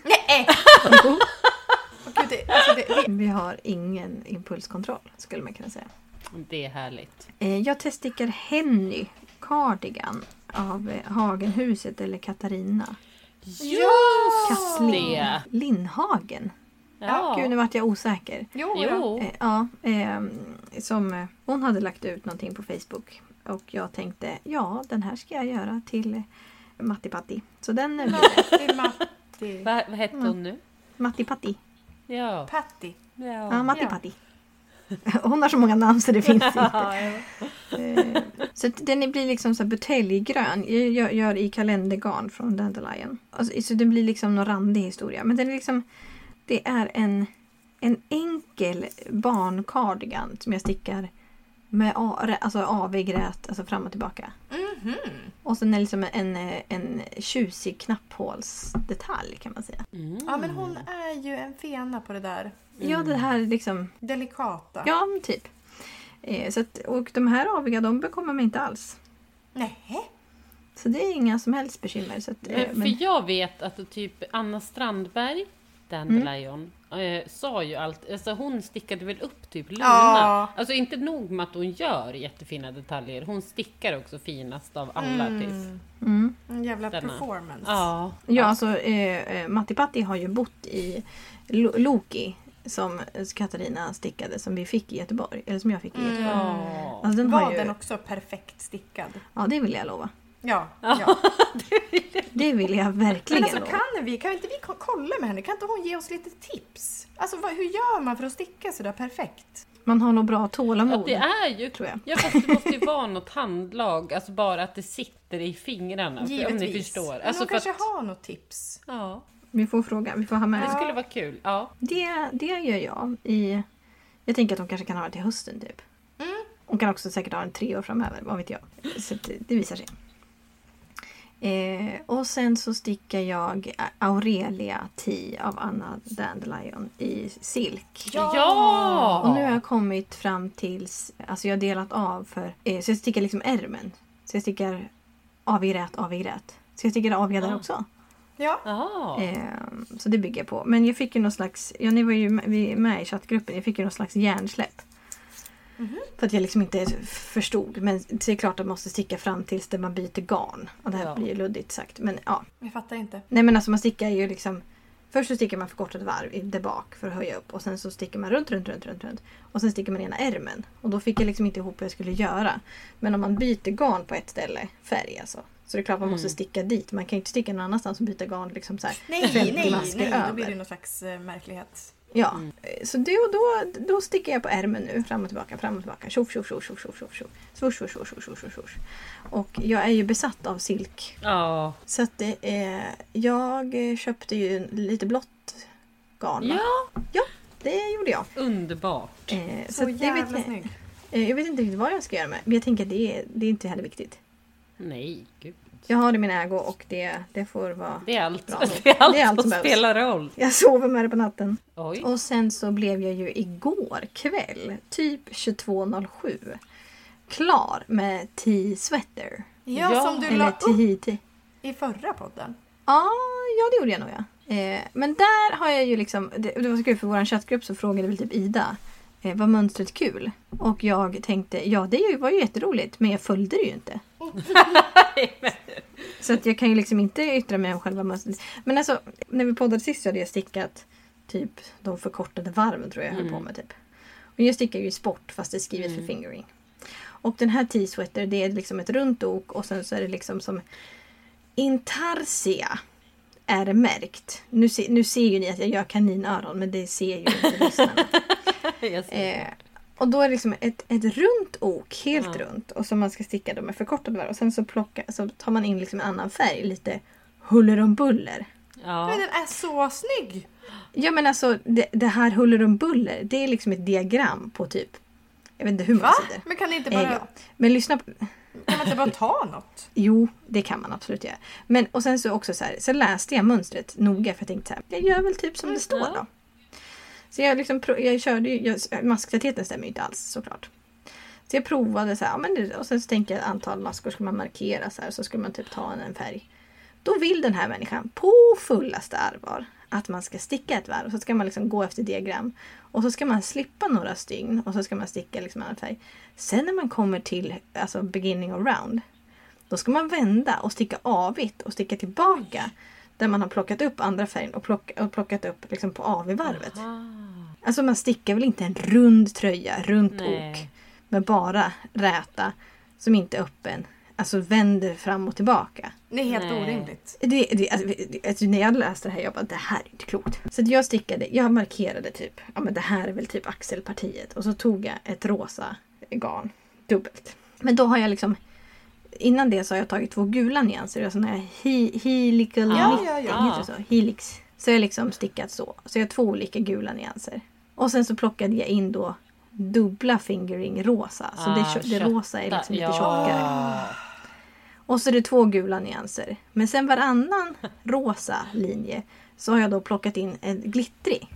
[SPEAKER 1] Nej! Åh, Gud, det, alltså det, det,
[SPEAKER 3] Vi har ingen impulskontroll, skulle man kunna säga.
[SPEAKER 2] Det är härligt.
[SPEAKER 3] Eh, Jag teststickar Henny Cardigan av eh, Hagenhuset eller Katarina
[SPEAKER 2] Just
[SPEAKER 3] Kassling
[SPEAKER 2] det!
[SPEAKER 3] Lindhagen.
[SPEAKER 2] Ja.
[SPEAKER 3] Gud, nu vart jag osäker.
[SPEAKER 1] jo, jo.
[SPEAKER 2] Jo.
[SPEAKER 3] Eh, Ja, eh, som eh, hon hade lagt ut någonting på Facebook och jag tänkte ja, den här ska jag göra till eh, Matti Patti. Så den eh, blir det.
[SPEAKER 1] Matti, Matti.
[SPEAKER 2] Va, vad hette hon nu?
[SPEAKER 3] Matti Patti.
[SPEAKER 2] Ja.
[SPEAKER 1] Patti.
[SPEAKER 3] Ja,
[SPEAKER 2] ja.
[SPEAKER 3] Matti
[SPEAKER 1] Ja.
[SPEAKER 3] Patti. Hon har så många namn så det finns inte.
[SPEAKER 2] Ja, ja.
[SPEAKER 3] Eh, Så att den blir liksom så här buteljgrön. Jag gör- gör i kalendergarn från Dandelion. Alltså, så den blir liksom någon randig historia. Men den är liksom... Det är en, en enkel barncardigan som jag stickar med a- rä- alltså AV-grät alltså fram och tillbaka. Och sen är det liksom en, eh, en tjusig knapphålsdetalj kan man säga.
[SPEAKER 2] Mm.
[SPEAKER 1] Ja, men hon är ju en fena på det där.
[SPEAKER 3] Ja, det här är liksom...
[SPEAKER 1] Delikata.
[SPEAKER 3] Ja, men typ. Eh, Så att, och de här aviga, de bekommer mig inte alls.
[SPEAKER 1] Nej.
[SPEAKER 3] Så det är inga som helst bekymmer. Så att, eh,
[SPEAKER 2] Men, för jag vet att typ Anna Strandberg, Dandelion, eh, sa ju allt, alltså hon stickade väl upp typ Luna.
[SPEAKER 1] Ja.
[SPEAKER 2] Alltså inte nog med att hon gör jättefina detaljer, hon stickar också finast av alla typ.
[SPEAKER 3] Mm.
[SPEAKER 1] En jävla
[SPEAKER 2] Denna.
[SPEAKER 1] performance.
[SPEAKER 2] Ja.
[SPEAKER 3] Ja, alltså eh, eh, Matti Patti har ju bott i Lo- Loki som Katarina stickade som vi fick i Göteborg. Eller som jag fick i Göteborg.
[SPEAKER 2] Ja.
[SPEAKER 3] Alltså, den
[SPEAKER 1] Var
[SPEAKER 3] har ju,
[SPEAKER 1] den också perfekt stickad?
[SPEAKER 3] Ja, det vill jag lova.
[SPEAKER 1] Ja. ja.
[SPEAKER 3] Det vill jag verkligen
[SPEAKER 1] Men alltså
[SPEAKER 3] lova.
[SPEAKER 1] kan vi, kan inte vi ko- kolla med henne? Kan inte hon ge oss lite tips? Alltså vad, hur gör man för att sticka sådär perfekt?
[SPEAKER 3] Man har nog bra
[SPEAKER 2] Att
[SPEAKER 3] tålamod.
[SPEAKER 2] det är ju,
[SPEAKER 3] Mm. tror jag.
[SPEAKER 2] Ja, fast det måste ju vara något handlag, alltså bara att det sitter i fingrarna. Alltså, Om ni förstår.
[SPEAKER 1] Men
[SPEAKER 2] Alltså,
[SPEAKER 1] hon
[SPEAKER 2] för att,
[SPEAKER 1] kanske har något tips?
[SPEAKER 2] ja,
[SPEAKER 3] Vi får fråga, vi får ha med
[SPEAKER 2] det
[SPEAKER 3] det.
[SPEAKER 2] skulle vara kul. Ja.
[SPEAKER 3] det. Det gör jag i... Jag tänker att hon kanske kan ha det till hösten typ. Hon kan också säkert ha en tre år framöver, vad vet jag. Så att det, det visar sig. Eh, och sen så stickar jag Aurelia Tee av Anna Dandelion i silk.
[SPEAKER 1] Ja!
[SPEAKER 2] Ja!
[SPEAKER 3] Och nu har jag kommit fram tills, alltså jag har delat av för, eh, så jag stickar liksom ärmen. Så jag stickar av i rät, av i rät. Så jag stickar av i där
[SPEAKER 2] Ah.
[SPEAKER 3] också.
[SPEAKER 1] Ja.
[SPEAKER 2] Ja.
[SPEAKER 3] Ehm, så det bygger jag på. Men jag fick ju någon slags, ja ni var ju med, vi är med i chattgruppen, jag fick ju någon slags hjärnsläpp. För att jag liksom inte förstod. Men det är klart att man måste sticka fram tills det man byter garn. Och det här
[SPEAKER 2] Ja.
[SPEAKER 3] blir ju luddigt sagt. Men ja.
[SPEAKER 1] Jag fattar inte.
[SPEAKER 3] Nej men alltså man stickar ju liksom Först så stickar man förkortat varv i- där bak för att höja upp och sen så stickar man runt, runt, runt, runt, runt. Och sen stickar man ena ärmen. Och då fick jag liksom inte ihop vad jag skulle göra. Men om man byter garn på ett ställe, färg alltså. Så det är klart man måste sticka dit. Man kan ju inte sticka någon annanstans och byta garn liksom så här.
[SPEAKER 1] Nej,
[SPEAKER 3] 50
[SPEAKER 1] nej,
[SPEAKER 3] masker
[SPEAKER 1] nej. Då
[SPEAKER 3] över.
[SPEAKER 1] blir det någon slags eh, märklighet.
[SPEAKER 3] Ja, Eh, så då, då, då sticker jag på ärmen nu fram och tillbaka, fram och tillbaka. Tjoff, tjoff, tjoff, tjoff, tjoff, tjoff, tjoff. Svors, svors, svors, svors, svors, svors, svors. Och jag är ju besatt av silk.
[SPEAKER 2] Ja.
[SPEAKER 3] Så att det är, jag eh, köpte ju en- lite blått garn. va?
[SPEAKER 2] ja,
[SPEAKER 3] ja det gjorde jag.
[SPEAKER 2] underbart.
[SPEAKER 3] Eh,
[SPEAKER 1] Så,
[SPEAKER 3] så att det
[SPEAKER 1] jävla
[SPEAKER 3] vet jag,
[SPEAKER 1] snygg.
[SPEAKER 3] eh, jag vet inte riktigt vad jag ska göra med. Men jag tänker att det, är- det är inte heller viktigt.
[SPEAKER 2] Nej, gud.
[SPEAKER 3] Jag har det i min ägo och det, det får vara...
[SPEAKER 2] Det är allt,
[SPEAKER 3] Bra.
[SPEAKER 2] det är allt,
[SPEAKER 3] Det är allt
[SPEAKER 2] som
[SPEAKER 3] som
[SPEAKER 2] spelar roll.
[SPEAKER 3] Jag sover med det på natten.
[SPEAKER 2] Oj.
[SPEAKER 3] Och sen så blev jag ju igår kväll, typ 22.07, klar med Tea Sweater.
[SPEAKER 1] Ja,
[SPEAKER 2] Ja.
[SPEAKER 1] som du la
[SPEAKER 3] Eller
[SPEAKER 1] upp
[SPEAKER 3] Tea Tea.
[SPEAKER 1] i förra podden.
[SPEAKER 3] Ja, ja det gjorde jag nog ja. Eh, men där har jag ju liksom, det, det var så kul för vår chattgrupp så frågade väl typ Ida, eh, var mönstret kul? Och jag tänkte, ja det ju- var ju jätteroligt men jag följde det ju inte. så att jag kan ju liksom inte yttra mig om själva mönstret. Men alltså, när vi poddade sist så hade jag stickat typ de förkortade varven tror jag jag höll på med typ. Och jag stickar ju i sport fast det är skrivet för fingering. Och den här T-sweater det är liksom ett runt ok och sen så är det liksom som intarsia är det märkt. Nu, se, nu ser ju ni att jag gör kaninöron men det ser ju inte lyssnarna.
[SPEAKER 2] Jag ser.
[SPEAKER 3] Eh, och då är det liksom ett, ett runt ok, helt
[SPEAKER 2] Ja.
[SPEAKER 3] runt, och som man ska sticka då med förkortad varv. Och sen så, plocka, så tar man in liksom en annan färg, lite huller om buller.
[SPEAKER 1] Men
[SPEAKER 2] Ja.
[SPEAKER 1] den är så snygg!
[SPEAKER 3] Ja men alltså det, det här huller om buller, det är liksom ett diagram på typ, jag vet inte hur många
[SPEAKER 1] Va?
[SPEAKER 3] sidor.
[SPEAKER 1] Men kan, ni inte
[SPEAKER 3] Eh,
[SPEAKER 1] bara,
[SPEAKER 3] ja. Men lyssna på,
[SPEAKER 1] kan man inte bara ta något?
[SPEAKER 3] Jo, det kan man absolut göra. Men, och sen så också så här, sen läste jag mönstret noga för jag tänkte så här, jag gör väl typ som det står då. Så jag liksom, pro- jag körde ju, jag, masktätheten stämmer ju inte alls såklart. Så jag provade så här, ja, men, det- och sen så tänker jag antal maskor ska man markera så här, så skulle man typ ta en, en färg. Då vill den här människan på fullaste allvar att man ska sticka ett varv och så ska man liksom gå efter diagram. Och så ska man slippa några stygn och så ska man sticka liksom annan färg. Sen när man kommer till alltså beginning of round då ska man vända och sticka avigt och sticka tillbaka där man har plockat upp andra färgen och, plocka, och plockat upp liksom på avigvarvet.
[SPEAKER 2] Ah.
[SPEAKER 3] Alltså man stickar väl inte en rund tröja, runt
[SPEAKER 2] Nej.
[SPEAKER 3] ok med bara räta som inte är öppen. Alltså vänder fram och tillbaka.
[SPEAKER 1] Det är helt
[SPEAKER 2] Nej.
[SPEAKER 1] orimligt.
[SPEAKER 3] Det, det, alltså, det, alltså, när jag läste det här jag bara det här är inte klokt. Så att jag stickade, jag markerade typ, ja men det här är väl typ axelpartiet. Och så tog jag ett rosa garn, dubbelt. Men då har jag liksom, innan det så har jag tagit två gula nyanser. Alltså när jag he, helical,
[SPEAKER 1] Ja, ja, ja.
[SPEAKER 3] heter det så, helix. Så jag har liksom stickat så. Så jag har två olika gula nyanser. Och sen så plockade jag in då dubbla fingering rosa. Så
[SPEAKER 2] Ah,
[SPEAKER 3] det, det
[SPEAKER 2] kötta.
[SPEAKER 3] rosa är liksom lite
[SPEAKER 2] Ja.
[SPEAKER 3] tjockare. Och så är det två gula nyanser. Men sen varannan rosa linje så har jag då plockat in en glittrig.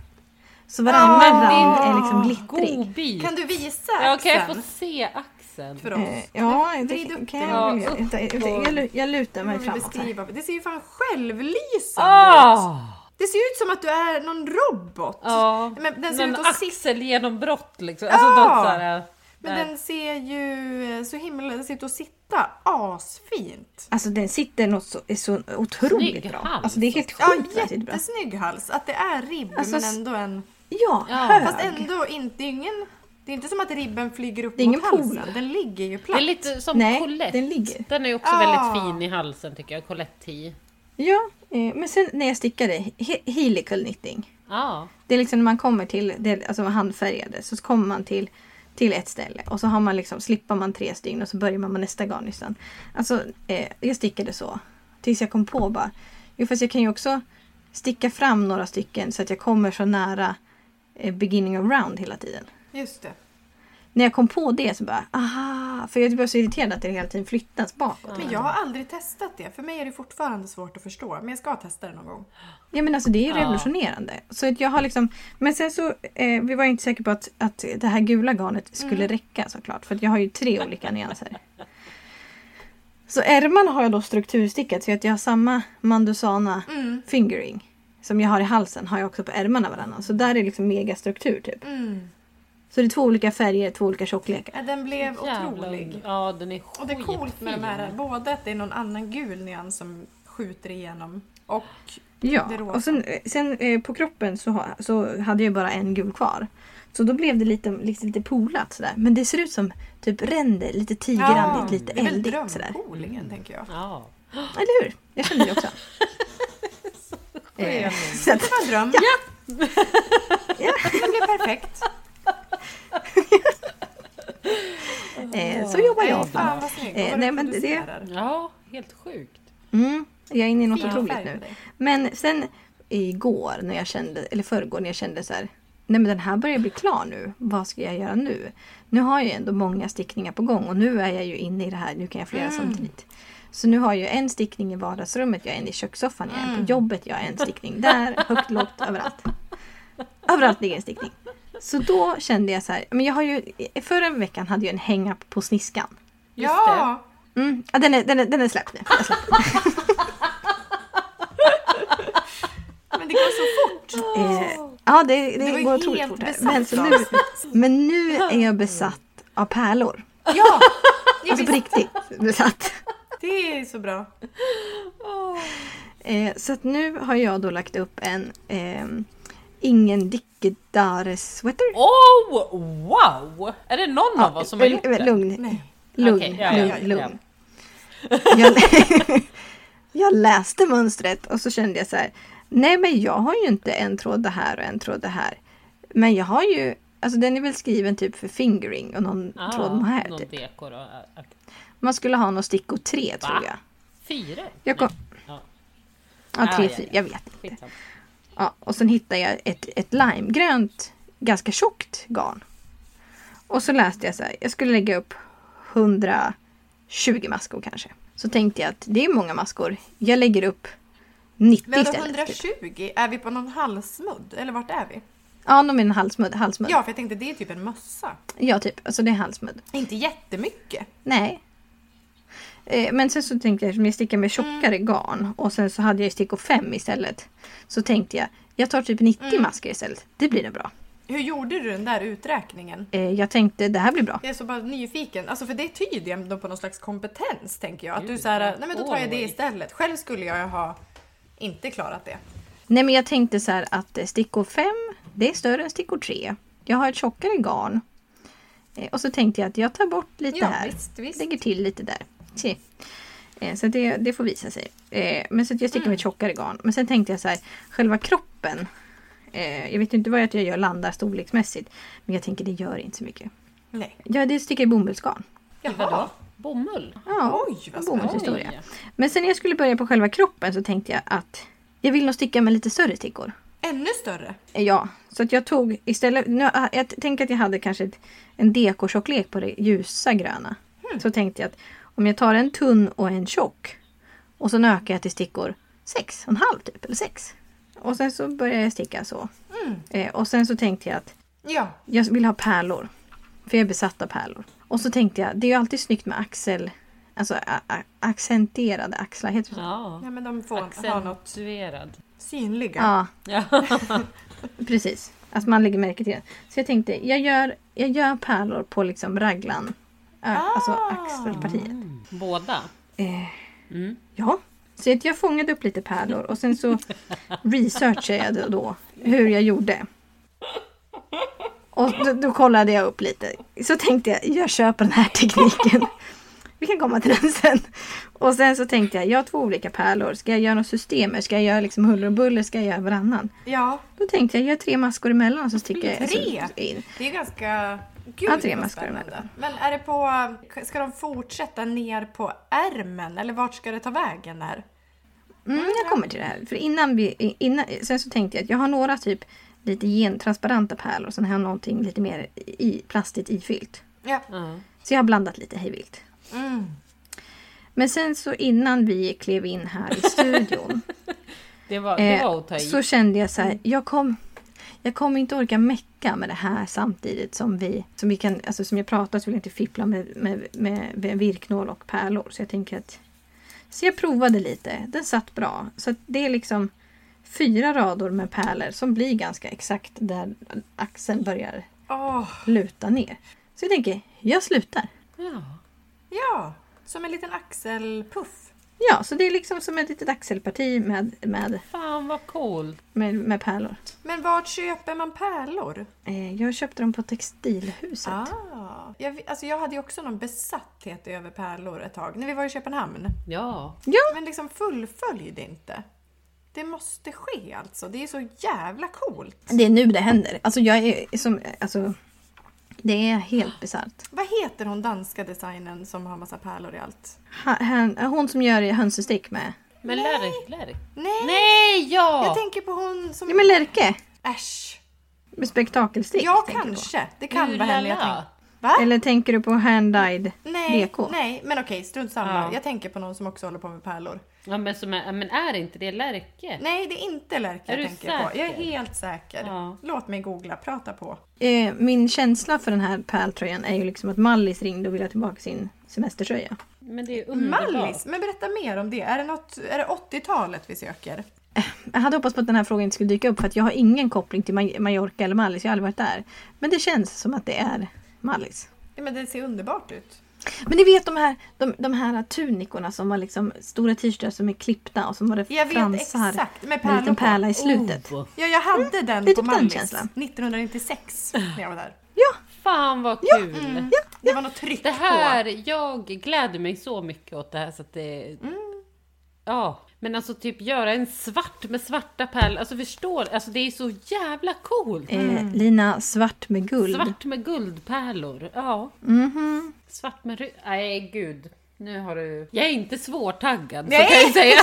[SPEAKER 3] Så varannan
[SPEAKER 2] Ah,
[SPEAKER 3] rand
[SPEAKER 1] din
[SPEAKER 3] är liksom glittrig.
[SPEAKER 2] Godbit!
[SPEAKER 1] Kan du visa
[SPEAKER 2] ja, kan jag
[SPEAKER 1] axeln
[SPEAKER 2] få se axeln?
[SPEAKER 1] för
[SPEAKER 3] Eh,
[SPEAKER 1] oss?
[SPEAKER 3] Ja,
[SPEAKER 1] Vrid
[SPEAKER 3] det
[SPEAKER 1] upp
[SPEAKER 3] kan
[SPEAKER 1] den.
[SPEAKER 2] Ja,
[SPEAKER 3] jag väl göra.
[SPEAKER 2] upp
[SPEAKER 3] Vänta, jag-
[SPEAKER 2] och-
[SPEAKER 3] Jag, lu- jag lutar
[SPEAKER 1] Hur
[SPEAKER 3] mig
[SPEAKER 1] vill vi
[SPEAKER 3] framåt här.
[SPEAKER 1] beskriva? Det ser ju fan självlysande ut!
[SPEAKER 2] Ah!
[SPEAKER 1] Det ser ut som att du är någon robot.
[SPEAKER 2] Ja,
[SPEAKER 1] Men den ser
[SPEAKER 2] men
[SPEAKER 1] ut att sitta
[SPEAKER 2] axelgenombrott liksom. Alltså,
[SPEAKER 1] Ja!
[SPEAKER 2] något så här, äh,
[SPEAKER 1] Men
[SPEAKER 2] där.
[SPEAKER 1] den ser ju eh, så himla... Den sitter och sitta asfint.
[SPEAKER 3] Alltså den sitter något så, är så otroligt
[SPEAKER 2] Snygg
[SPEAKER 3] bra.
[SPEAKER 2] hals
[SPEAKER 3] Alltså det är helt
[SPEAKER 1] Ja,
[SPEAKER 3] sjukt vad det är bra.
[SPEAKER 1] jättesnygg hals. Att det är ribb
[SPEAKER 3] Alltså,
[SPEAKER 1] men ändå en...
[SPEAKER 3] Ja,
[SPEAKER 2] Ja.
[SPEAKER 3] hög.
[SPEAKER 1] Fast ändå inte... Det är, ingen, det är inte som att ribben flyger upp
[SPEAKER 3] Det är
[SPEAKER 1] mot
[SPEAKER 3] ingen
[SPEAKER 1] halsen.
[SPEAKER 3] pool.
[SPEAKER 1] Den ligger ju platt.
[SPEAKER 2] Det är lite som
[SPEAKER 3] Nej,
[SPEAKER 2] Colette.
[SPEAKER 3] den ligger.
[SPEAKER 2] Den är ju också
[SPEAKER 1] Ah.
[SPEAKER 2] väldigt fin i halsen tycker jag. Colette T.
[SPEAKER 3] Ja, eh, men sen när jag stickade, he- helical knitting.
[SPEAKER 2] Ja.
[SPEAKER 3] Det är liksom när man kommer till, det, alltså handfärgade, så kommer man till, till ett ställe och så har man liksom, slipper man tre stygn och så börjar man med nästa garnistan. Alltså, eh, jag stickade så. Tills jag kom på bara, jo fast jag kan ju också sticka fram några stycken så att jag kommer så nära eh, beginning of round hela tiden.
[SPEAKER 1] Just det.
[SPEAKER 3] När jag kom på det så bara, aha! För jag blev så irriterad att det hela tiden flyttas bakåt.
[SPEAKER 1] Men jag har aldrig testat det. För mig är det fortfarande svårt att förstå. Men jag ska testa det någon gång.
[SPEAKER 3] Ja men alltså det är
[SPEAKER 2] Ja.
[SPEAKER 3] revolutionerande. Så att jag har liksom, men sen så, eh, vi var ju inte säkra på att, att det här gula garnet skulle räcka såklart. För att jag har ju tre olika nyanser. Så ärmarna har jag då strukturstickat så att jag har samma mandusana
[SPEAKER 1] Mm,
[SPEAKER 3] fingering. Som jag har i halsen har jag också på ärmarna varannan. Så där är liksom megastruktur typ.
[SPEAKER 1] mm.
[SPEAKER 3] Så det är två olika färger, två olika tjocklekar.
[SPEAKER 1] Ja, den blev
[SPEAKER 2] Jävlar.
[SPEAKER 1] otrolig.
[SPEAKER 2] Ja, den är skitfin.
[SPEAKER 1] Och det är coolt med de här, både att det är någon annan gul nyans som skjuter igenom och
[SPEAKER 3] Ja,
[SPEAKER 1] det rosa.
[SPEAKER 3] och sen, eh, sen eh, på kroppen så, ha- så hade jag bara en gul kvar. Så då blev det lite, liksom, lite polat sådär. Men det ser ut som typ ränder, lite tigerandigt, lite
[SPEAKER 1] det är väl
[SPEAKER 3] eldigt sådär. Mm. Eh.
[SPEAKER 1] drömpoolingen tänker jag.
[SPEAKER 2] Ja.
[SPEAKER 3] Eller hur? Jag kände det också. Eh, så att,
[SPEAKER 1] Det var en dröm.
[SPEAKER 3] Ja.
[SPEAKER 1] Ja. Det blev perfekt.
[SPEAKER 3] eh, så jobbar jag.
[SPEAKER 1] Nej, fan vad snygg.
[SPEAKER 3] Eh,
[SPEAKER 1] Eh,
[SPEAKER 3] nej, men det-
[SPEAKER 2] Ja, helt sjukt.
[SPEAKER 3] Mm, jag är inne i något
[SPEAKER 1] Fin
[SPEAKER 3] otroligt
[SPEAKER 1] färg
[SPEAKER 3] nu.
[SPEAKER 1] på dig.
[SPEAKER 3] Men sen igår när jag kände, eller förrgår när jag kände så här. Nej men den här börjar bli klar nu. Vad ska jag göra nu? Nu har jag ändå många stickningar på gång och nu är jag ju inne i det här. Nu kan jag flera
[SPEAKER 1] Mm.
[SPEAKER 3] samtidigt. Så nu har jag en stickning i vardagsrummet, jag har en i kökssoffan, jag har en
[SPEAKER 1] Mm.
[SPEAKER 3] på jobbet, jag har en stickning där, högt, lågt, överallt. Överallt ligger en stickning. Så då kände jag så här, men jag har ju, förra veckan hade jag en hänga på sniskan.
[SPEAKER 2] Just
[SPEAKER 1] Ja!
[SPEAKER 3] Mm. Ja, den, är, den, är, den är släppt nu.
[SPEAKER 1] Men det går så fort.
[SPEAKER 3] Eh, ja, det, det,
[SPEAKER 1] var ju
[SPEAKER 3] går otroligt
[SPEAKER 1] helt
[SPEAKER 3] fort. här.
[SPEAKER 1] besatt
[SPEAKER 3] Men, så
[SPEAKER 1] av
[SPEAKER 3] nu, men nu är jag besatt av pärlor.
[SPEAKER 1] Ja! ja
[SPEAKER 3] Alltså på
[SPEAKER 1] visst,
[SPEAKER 3] riktigt besatt.
[SPEAKER 1] det är så bra.
[SPEAKER 3] Eh, så att nu har jag då lagt upp en ehm, Ingen Dickedare sweater.
[SPEAKER 2] Oh, wow! Är det någon av oss som har
[SPEAKER 3] Eh,
[SPEAKER 2] gjort det?
[SPEAKER 3] Lugn,
[SPEAKER 1] Nej.
[SPEAKER 3] lugn,
[SPEAKER 2] Okej, ja, ja, ja,
[SPEAKER 3] lugn,
[SPEAKER 2] ja.
[SPEAKER 3] lugn. Jag, jag läste mönstret och så kände jag så här. Nej men jag har ju inte en tråd det här och en tråd det här. Men jag har ju, alltså den är väl skriven typ för fingering och någon
[SPEAKER 2] Ah,
[SPEAKER 3] tråd här.
[SPEAKER 2] någon
[SPEAKER 3] Typ.
[SPEAKER 2] deko då. Äh, ja, ja.
[SPEAKER 3] Man skulle ha någon stickor tre tror
[SPEAKER 2] Va?
[SPEAKER 3] jag.
[SPEAKER 2] Fyra?
[SPEAKER 3] Jag kom,
[SPEAKER 2] Ja,
[SPEAKER 3] ja, tre,
[SPEAKER 2] Ah, ja,
[SPEAKER 3] fyra,
[SPEAKER 2] ja.
[SPEAKER 3] jag vet inte.
[SPEAKER 2] skitsamma.
[SPEAKER 3] Ja, och sen hittade jag ett, ett limegrönt, ganska tjockt garn. Och så läste jag så här, jag skulle lägga upp 120 maskor kanske. Så tänkte jag att det är många maskor, jag lägger upp 90
[SPEAKER 1] Men vadå,
[SPEAKER 3] istället. Typ.
[SPEAKER 1] 120? Är vi på någon halsmudd? Eller vart är vi?
[SPEAKER 3] Ja, de är en halsmudd. halsmudd. Ja.
[SPEAKER 1] Ja, för jag tänkte det är typ en mössa.
[SPEAKER 3] typ. Alltså det är halsmudd.
[SPEAKER 1] Inte jättemycket.
[SPEAKER 3] Nej. Eh, Men sen så tänkte jag, eftersom jag stickar med tjockare garn och sen så hade jag ju stickor 5 istället. Så tänkte jag, jag tar typ 90 masker istället. Det blir nog bra.
[SPEAKER 1] Hur gjorde du den där uträkningen?
[SPEAKER 3] Eh, Jag tänkte, det här blir bra.
[SPEAKER 1] Jag är så bara nyfiken. Alltså för det tyder ju ändå på någon slags kompetens tänker jag. Att du
[SPEAKER 2] Gud,
[SPEAKER 1] såhär,
[SPEAKER 2] ja.
[SPEAKER 1] nej men då tar jag det
[SPEAKER 2] Oj.
[SPEAKER 1] istället. Själv skulle jag ju ha inte klarat det.
[SPEAKER 3] Nej men jag tänkte så här att eh, stickor 5, det är större än stickor 3. Jag har ett tjockare garn. Eh, Och så tänkte jag att jag tar bort lite
[SPEAKER 1] Ja,
[SPEAKER 3] här.
[SPEAKER 1] visst, visst.
[SPEAKER 3] Lägger till lite där. Se. Eh, Så det, det får visa sig. Eh, Men så att jag stickar med ett tjockare garn. Men sen tänkte jag så här, själva kroppen. eh, Jag vet inte vad jag gör landar storleksmässigt. Men jag tänker det gör inte så mycket.
[SPEAKER 1] Nej.
[SPEAKER 3] Ja, det sticker i bomullsgarn.
[SPEAKER 2] Vadå? Bomull?
[SPEAKER 3] Ja,
[SPEAKER 1] Oj, vad
[SPEAKER 3] en
[SPEAKER 1] spännande.
[SPEAKER 3] bomullshistoria.
[SPEAKER 2] Oj.
[SPEAKER 3] Men sen när jag skulle börja på själva kroppen så tänkte jag att jag vill nog sticka med lite större stickor.
[SPEAKER 1] Ännu större.
[SPEAKER 3] Ja, så att jag tog istället, nu, ah, jag tänker att jag hade kanske ett, en dekotjocklek på det ljusa gröna. Så tänkte jag att om jag tar en tunn och en tjock och sen ökar jag till stickor sex och en halv typ, eller sex. Och sen så började jag sticka så.
[SPEAKER 1] Mm.
[SPEAKER 3] Eh, och sen så tänkte jag att
[SPEAKER 1] Ja.
[SPEAKER 3] jag vill ha pärlor. För jag är besatt av pärlor. Och så tänkte jag, det är ju alltid snyggt med axel, alltså a- a- accenterade axlar, heter det så?
[SPEAKER 2] Ja.
[SPEAKER 1] ja, men de får ha något
[SPEAKER 2] Accentuerad.
[SPEAKER 1] Synliga.
[SPEAKER 3] Ja,
[SPEAKER 2] Ja.
[SPEAKER 3] precis. Att man lägger märke till det. Så jag tänkte, jag gör, jag gör pärlor på liksom raglan. Ö- Alltså axelpartiet.
[SPEAKER 2] Båda.
[SPEAKER 3] Eh,
[SPEAKER 2] Mm.
[SPEAKER 3] ja. Så att jag fångade upp lite pärlor och sen så researchade jag då hur jag gjorde. Och då, då kollade jag upp lite. Så tänkte jag, jag köper den här tekniken. Vi kan komma till den sen. Och sen så tänkte jag, jag har två olika pärlor. Ska jag göra något system? Ska jag göra liksom huller och buller? Ska jag göra varannan?
[SPEAKER 1] Ja,
[SPEAKER 3] Då tänkte jag, jag gör tre maskor emellan och så sticker jag
[SPEAKER 1] Tre?
[SPEAKER 3] alltså in.
[SPEAKER 1] det är ganska... Gud
[SPEAKER 3] Ja, tre
[SPEAKER 1] vad
[SPEAKER 3] maskar
[SPEAKER 1] spännande.
[SPEAKER 3] emellan.
[SPEAKER 1] Men är det på... Ska de fortsätta ner på ärmen eller vart ska det ta vägen där?
[SPEAKER 3] Mm, jag kommer till det här. För innan vi, innan, sen så tänkte jag att jag har några typ lite gentransparenta pärlor och sen har jag någonting lite mer i, plastigt ifyllt.
[SPEAKER 1] Ja.
[SPEAKER 2] Ja.
[SPEAKER 3] Så jag har blandat lite hejvilt.
[SPEAKER 1] Mm.
[SPEAKER 3] Men sen så innan vi klev in här i studion
[SPEAKER 2] Det var, det var att ta
[SPEAKER 3] eh,
[SPEAKER 2] i. Mm.
[SPEAKER 3] så kände jag så här, jag kom jag kommer inte orka mecka med det här samtidigt som vi, som vi kan, alltså som jag pratar så vill jag inte fippla med, med, med, med virknål och pärlor. Så jag tänker att, så jag provade lite, den satt bra. Så att det är liksom fyra rader med pärlor som blir ganska exakt där axeln börjar
[SPEAKER 1] Åh,
[SPEAKER 3] luta ner. Så jag tänker, jag slutar.
[SPEAKER 2] Ja.
[SPEAKER 1] ja, som en liten axelpuff.
[SPEAKER 3] Ja, så det är liksom som ett litet axelparti med, med,
[SPEAKER 2] Fan vad coolt.
[SPEAKER 3] med, med pärlor.
[SPEAKER 1] Men vart köper man pärlor? Typ.
[SPEAKER 3] Eh, Jag köpte dem på Textilhuset.
[SPEAKER 1] Ah, jag, vi- alltså jag hade ju också någon besatthet över pärlor ett tag, när vi var i Köpenhamn.
[SPEAKER 2] Ja.
[SPEAKER 1] Men liksom fullfölj det inte. Det måste ske alltså, det är så jävla coolt.
[SPEAKER 3] Det är nu det händer. Alltså jag är som, alltså, det är helt bisarrt.
[SPEAKER 1] Vad heter hon danska designen som har massa pärlor i allt?
[SPEAKER 3] Ha- han- Hon som gör hönsestick med...
[SPEAKER 2] Men Lärk, Lärk.
[SPEAKER 1] Nej!
[SPEAKER 2] Nej, ja!
[SPEAKER 1] Jag tänker på hon som...
[SPEAKER 3] Ja men Lärke!
[SPEAKER 1] Äsch!
[SPEAKER 3] Med spektakelstick.
[SPEAKER 1] Ja,
[SPEAKER 3] tänker du på.
[SPEAKER 1] kanske. Det kan vara
[SPEAKER 2] Ulala.
[SPEAKER 1] henne jag tänker. Va?
[SPEAKER 3] Eller tänker du på hand-dyed
[SPEAKER 1] Nej,
[SPEAKER 3] DK?
[SPEAKER 1] nej, men okej, strunt samma.
[SPEAKER 2] Ja.
[SPEAKER 1] Jag tänker på någon som också håller på med pärlor.
[SPEAKER 2] Ja, men, som är, men är inte det Lärke?
[SPEAKER 1] Nej, det är inte Lärke
[SPEAKER 2] Är
[SPEAKER 1] jag
[SPEAKER 2] du
[SPEAKER 1] tänker på.
[SPEAKER 2] säker?
[SPEAKER 1] Jag är helt säker.
[SPEAKER 2] Ja.
[SPEAKER 1] Låt mig googla, prata på.
[SPEAKER 3] Eh, min känsla för den här pärltröjan är ju liksom att Mallis ringde och ville ha tillbaka sin semestertröja.
[SPEAKER 2] Men det är ju underbart.
[SPEAKER 1] Mallis, men berätta mer om det. Är det, något, är det 80-talet vi söker?
[SPEAKER 3] Eh, Jag hade hoppats på att den här frågan inte skulle dyka upp för att jag har ingen koppling till Maj- Mallorca eller Mallis, jag har aldrig varit där. Men det känns som att det är Mallis.
[SPEAKER 1] Ja, men det ser underbart ut.
[SPEAKER 3] Men ni vet de här, de, de här tunikorna som var liksom stora t-shirtar som är klippta och som var det
[SPEAKER 1] Jag vet
[SPEAKER 3] fransar
[SPEAKER 1] exakt, med
[SPEAKER 3] med
[SPEAKER 1] pärlor
[SPEAKER 3] en liten
[SPEAKER 1] på.
[SPEAKER 3] pärla i slutet.
[SPEAKER 2] Oh,
[SPEAKER 1] Ja, jag hade den
[SPEAKER 3] det är
[SPEAKER 1] på
[SPEAKER 3] typ den
[SPEAKER 1] Mallis
[SPEAKER 3] känslan.
[SPEAKER 1] 1996 när jag var där.
[SPEAKER 2] fan vad kul!
[SPEAKER 1] Det var något tryck
[SPEAKER 2] Det här,
[SPEAKER 1] på.
[SPEAKER 2] jag gläder mig så mycket åt det här så att det... Ja, men alltså typ göra en svart med svarta pärlor, alltså förstår, alltså det är så jävla coolt!
[SPEAKER 1] Mm.
[SPEAKER 3] Eh, Lina, svart med guld.
[SPEAKER 2] Svart med guldpärlor, ja. Svart med röd, nej gud. Nu har du... Jag är inte svårtaggad så
[SPEAKER 1] Nej.
[SPEAKER 2] kan jag säga.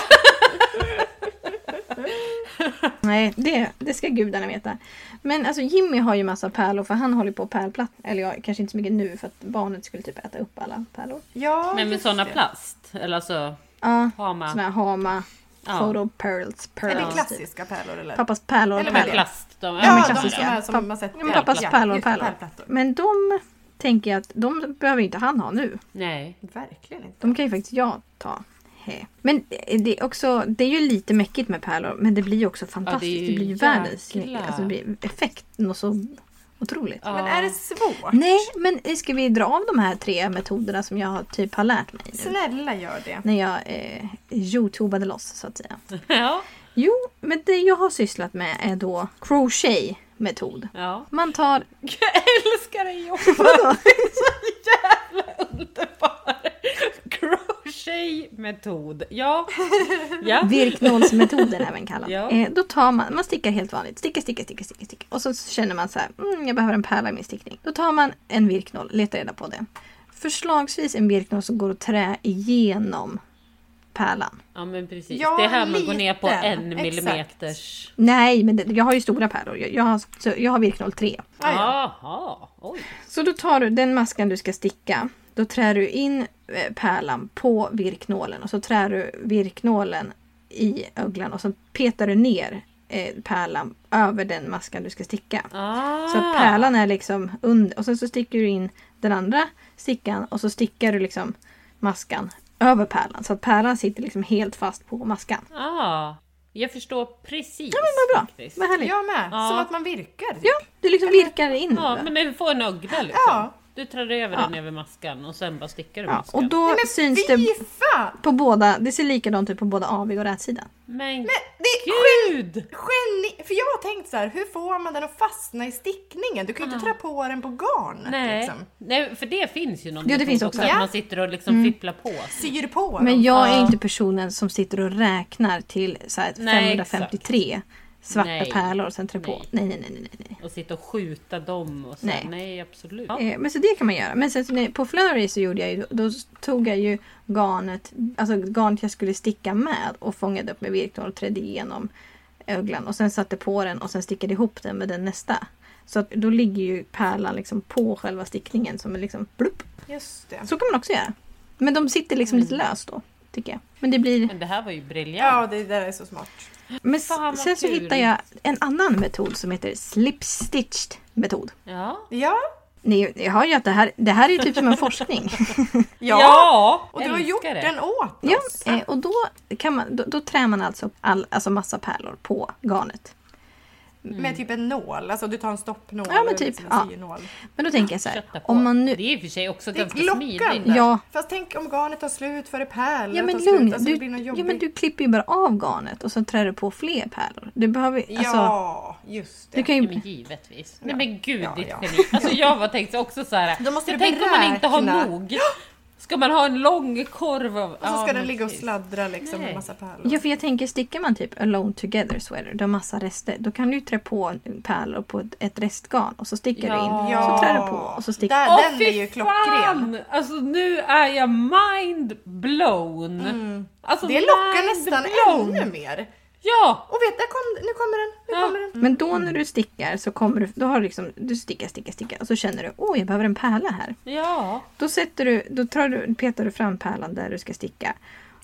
[SPEAKER 3] Nej, det, det ska gudarna veta. Men alltså Jimmy har ju massa pärlor för han håller på och pärlplatt. Eller ja, kanske inte så mycket nu för att barnet skulle typ äta upp alla pärlor.
[SPEAKER 1] Ja,
[SPEAKER 2] Men med
[SPEAKER 1] just
[SPEAKER 2] såna
[SPEAKER 1] det.
[SPEAKER 2] plast, eller alltså
[SPEAKER 3] Ja, såna
[SPEAKER 2] hama.
[SPEAKER 3] här Hama,
[SPEAKER 2] Ja.
[SPEAKER 3] photo pearls,
[SPEAKER 1] Är det
[SPEAKER 3] pearls. typ.
[SPEAKER 1] klassiska pärlor eller?
[SPEAKER 3] Pappas pärlor
[SPEAKER 1] Eller
[SPEAKER 3] och
[SPEAKER 2] Med
[SPEAKER 1] pärlor.
[SPEAKER 2] plast. De, ja,
[SPEAKER 1] Ja,
[SPEAKER 2] men
[SPEAKER 1] de
[SPEAKER 2] klassiska.
[SPEAKER 1] som, är, som
[SPEAKER 3] Papp-
[SPEAKER 1] man sett
[SPEAKER 3] Ja, men pappas
[SPEAKER 1] Ja,
[SPEAKER 3] pärlor och
[SPEAKER 1] just det,
[SPEAKER 3] pärlor.
[SPEAKER 1] pärlplattor.
[SPEAKER 3] Men de tänker jag att de behöver inte han ha nu.
[SPEAKER 2] Nej.
[SPEAKER 1] Verkligen inte.
[SPEAKER 3] De kan ju faktiskt jag ta. He. Men det är, också, det är ju lite mäckigt med pärlor men det blir ju också fantastiskt.
[SPEAKER 2] ju
[SPEAKER 3] det, blir ju
[SPEAKER 2] jäkla-
[SPEAKER 3] världens alltså, det blir effekten och så otroligt.
[SPEAKER 2] Ja.
[SPEAKER 1] Men är det svårt?
[SPEAKER 3] Nej, men ska vi dra av de här tre metoderna som jag typ har lärt mig nu?
[SPEAKER 1] Snälla gör det.
[SPEAKER 3] När jag eh, youtubade loss så att säga.
[SPEAKER 2] Ja.
[SPEAKER 3] Jo, men det jag har sysslat med är då crochet-metod.
[SPEAKER 2] ja.
[SPEAKER 3] Man tar...
[SPEAKER 2] Jag älskar dig Joppa!
[SPEAKER 3] Vadå?
[SPEAKER 2] underbar crochet-metod. Ja. ja.
[SPEAKER 3] Virknålsmetoden även kallad.
[SPEAKER 2] Ja.
[SPEAKER 3] Eh, då tar man, man stickar helt vanligt. Sticka, sticka, sticka, sticka, sticka. Och så känner man så här, mm, jag behöver en pärla i min stickning. Då tar man en virknål, letar reda på det. Förslagsvis en virknål som går att trä igenom pärlan.
[SPEAKER 2] Ja men precis.
[SPEAKER 1] Ja,
[SPEAKER 2] det är här man går
[SPEAKER 1] liten.
[SPEAKER 2] ner på en
[SPEAKER 1] Exakt.
[SPEAKER 2] millimeters...
[SPEAKER 3] Nej, men det, jag har ju stora pärlor. Jag, jag, har, så, jag har virknål 3.
[SPEAKER 1] Ah, ja.
[SPEAKER 2] Jaha, oj.
[SPEAKER 3] Så då tar du den maskan du ska sticka. Då trär du in eh, pärlan på virknålen och så trär du virknålen i öglan och så petar du ner eh, pärlan över den maskan du ska sticka.
[SPEAKER 2] Ah.
[SPEAKER 3] Så att pärlan är liksom under och sen så sticker du in den andra stickan och så stickar du liksom maskan över pärlan. Så att pärlan sitter liksom helt fast på maskan.
[SPEAKER 2] Ah. Jag förstår precis.
[SPEAKER 3] Vad bra,
[SPEAKER 2] faktiskt.
[SPEAKER 3] vad härligt.
[SPEAKER 1] Jag med.
[SPEAKER 2] Ja.
[SPEAKER 1] Som att man virkar.
[SPEAKER 3] Ja, du liksom virkar in
[SPEAKER 2] Ja,
[SPEAKER 3] den.
[SPEAKER 2] men den får en ögla liksom.
[SPEAKER 1] Ja.
[SPEAKER 2] Du trär över
[SPEAKER 3] Ja.
[SPEAKER 2] den över maskan och sen bara stickar du
[SPEAKER 3] Ja,
[SPEAKER 2] maskan.
[SPEAKER 3] och då
[SPEAKER 1] Nej, men
[SPEAKER 3] syns
[SPEAKER 1] fy
[SPEAKER 3] det
[SPEAKER 1] fan!
[SPEAKER 3] på båda, det ser likadant ut på både avig och rätsidan.
[SPEAKER 2] Men
[SPEAKER 1] Men det är
[SPEAKER 2] gud!
[SPEAKER 1] geni! För jag har tänkt så här, hur får man den att fastna i stickningen? Du kan ju inte trä på den på garnet
[SPEAKER 2] Nej.
[SPEAKER 1] liksom.
[SPEAKER 2] Nej, för det finns ju någon
[SPEAKER 3] Jo, det
[SPEAKER 2] metod
[SPEAKER 3] finns också. Mm.
[SPEAKER 2] Att
[SPEAKER 1] Ja.
[SPEAKER 2] man sitter och liksom fipplar på. sig.
[SPEAKER 1] Syr på den.
[SPEAKER 3] Men jag är
[SPEAKER 2] Ja.
[SPEAKER 3] inte personen som sitter och räknar till så här,
[SPEAKER 2] Nej,
[SPEAKER 3] 553 svarta
[SPEAKER 2] Nej.
[SPEAKER 3] pärlor och sen trä på. Nej, nej, nej, nej. nej.
[SPEAKER 2] Och sitta och skjuta dem och så.
[SPEAKER 3] Nej.
[SPEAKER 2] Nej, absolut.
[SPEAKER 3] Eh, Men så det kan man göra. Men sen så när- på Flurry så gjorde jag ju, då tog jag ju garnet, alltså garnet jag skulle sticka med och fångade upp med virknål och trädde igenom öglan och sen satte på den och sen stickade ihop den med den nästa. Så att då ligger ju pärlan liksom på själva stickningen som är liksom blupp.
[SPEAKER 1] Just det.
[SPEAKER 3] Så kan man också göra. Men de sitter liksom
[SPEAKER 2] Mm.
[SPEAKER 3] lite löst då, tycker jag. Men det blir...
[SPEAKER 2] Men det här var ju briljant.
[SPEAKER 1] Ja, det där är så smart.
[SPEAKER 3] Men s-
[SPEAKER 2] Fan, vad
[SPEAKER 3] sen så
[SPEAKER 2] kul.
[SPEAKER 3] hittar jag en annan metod som heter slip stitched metod.
[SPEAKER 2] Ja.
[SPEAKER 1] Ja.
[SPEAKER 3] Ni, jag hör ju att det här, det här är ju typ som en forskning.
[SPEAKER 1] Ja!
[SPEAKER 2] Ja,
[SPEAKER 1] Och du har gjort
[SPEAKER 2] älskar det.
[SPEAKER 1] den åt
[SPEAKER 3] Ja,
[SPEAKER 1] oss.
[SPEAKER 3] eh, och då, kan man, då, då trär man alltså, all, alltså massa pärlor på garnet.
[SPEAKER 1] Med typ en nål. Alltså du tar en stoppnål.
[SPEAKER 3] Mm. Ja, men
[SPEAKER 1] eller
[SPEAKER 3] typ,
[SPEAKER 1] liksom
[SPEAKER 3] ja.
[SPEAKER 1] En synål.
[SPEAKER 3] Men då tänker jag så här,
[SPEAKER 2] Kötta på.
[SPEAKER 3] om man nu...
[SPEAKER 2] Det är i och för sig också
[SPEAKER 1] Det är
[SPEAKER 2] ganska smidigt.
[SPEAKER 1] klockan.
[SPEAKER 3] Ja.
[SPEAKER 1] Fast tänk om garnet tar slut före pärlan.
[SPEAKER 3] Ja men
[SPEAKER 1] tar slut.
[SPEAKER 3] lugn,
[SPEAKER 1] Alltså, det blir
[SPEAKER 3] du,
[SPEAKER 1] något
[SPEAKER 3] ja,
[SPEAKER 1] jobbigt.
[SPEAKER 3] men du klipper ju bara av garnet och så trär du på fler pärlor. Du behöver alltså,
[SPEAKER 1] ja, just det.
[SPEAKER 3] du kan
[SPEAKER 2] Ja,
[SPEAKER 3] ju...
[SPEAKER 2] men givetvis. Nej men gud
[SPEAKER 1] Ja,
[SPEAKER 2] ditt
[SPEAKER 1] ja.
[SPEAKER 2] geni. Alltså jag var tänkt också så här.
[SPEAKER 1] Då måste
[SPEAKER 2] jag
[SPEAKER 1] du
[SPEAKER 2] tänker om man inte har
[SPEAKER 1] beräkna.
[SPEAKER 2] nog. Ska man ha en lång korv av...
[SPEAKER 1] Och så ska
[SPEAKER 2] ja,
[SPEAKER 1] den
[SPEAKER 2] men
[SPEAKER 1] ligga och
[SPEAKER 2] precis.
[SPEAKER 1] sladdra liksom
[SPEAKER 2] Nej.
[SPEAKER 1] med massa pärlor.
[SPEAKER 3] Ja för jag tänker, stickar man typ Alone Together Sweater, du har massa rester, då kan du ju trä på pärlor på ett, ett restgarn och så stickar du in,
[SPEAKER 1] Ja.
[SPEAKER 3] så trär du på och så stickar
[SPEAKER 1] Där,
[SPEAKER 2] Åh,
[SPEAKER 1] Den är ju
[SPEAKER 2] fy
[SPEAKER 1] klockren.
[SPEAKER 2] fan! Alltså nu är jag mind blown. Alltså,
[SPEAKER 1] Mm. Det lockar
[SPEAKER 2] mind
[SPEAKER 1] nästan
[SPEAKER 2] blown.
[SPEAKER 1] ännu mer.
[SPEAKER 2] Ja!
[SPEAKER 1] Och vet, där kom, nu kommer den. Nu
[SPEAKER 2] Ja.
[SPEAKER 1] kommer den.
[SPEAKER 2] Mm.
[SPEAKER 3] Men då när du stickar så kommer du, då har du liksom, du stickar, stickar, stickar och så känner du, åh jag behöver en pärla här.
[SPEAKER 2] Ja.
[SPEAKER 3] Då, sätter du, då tar du, petar du fram pärlan där du ska sticka.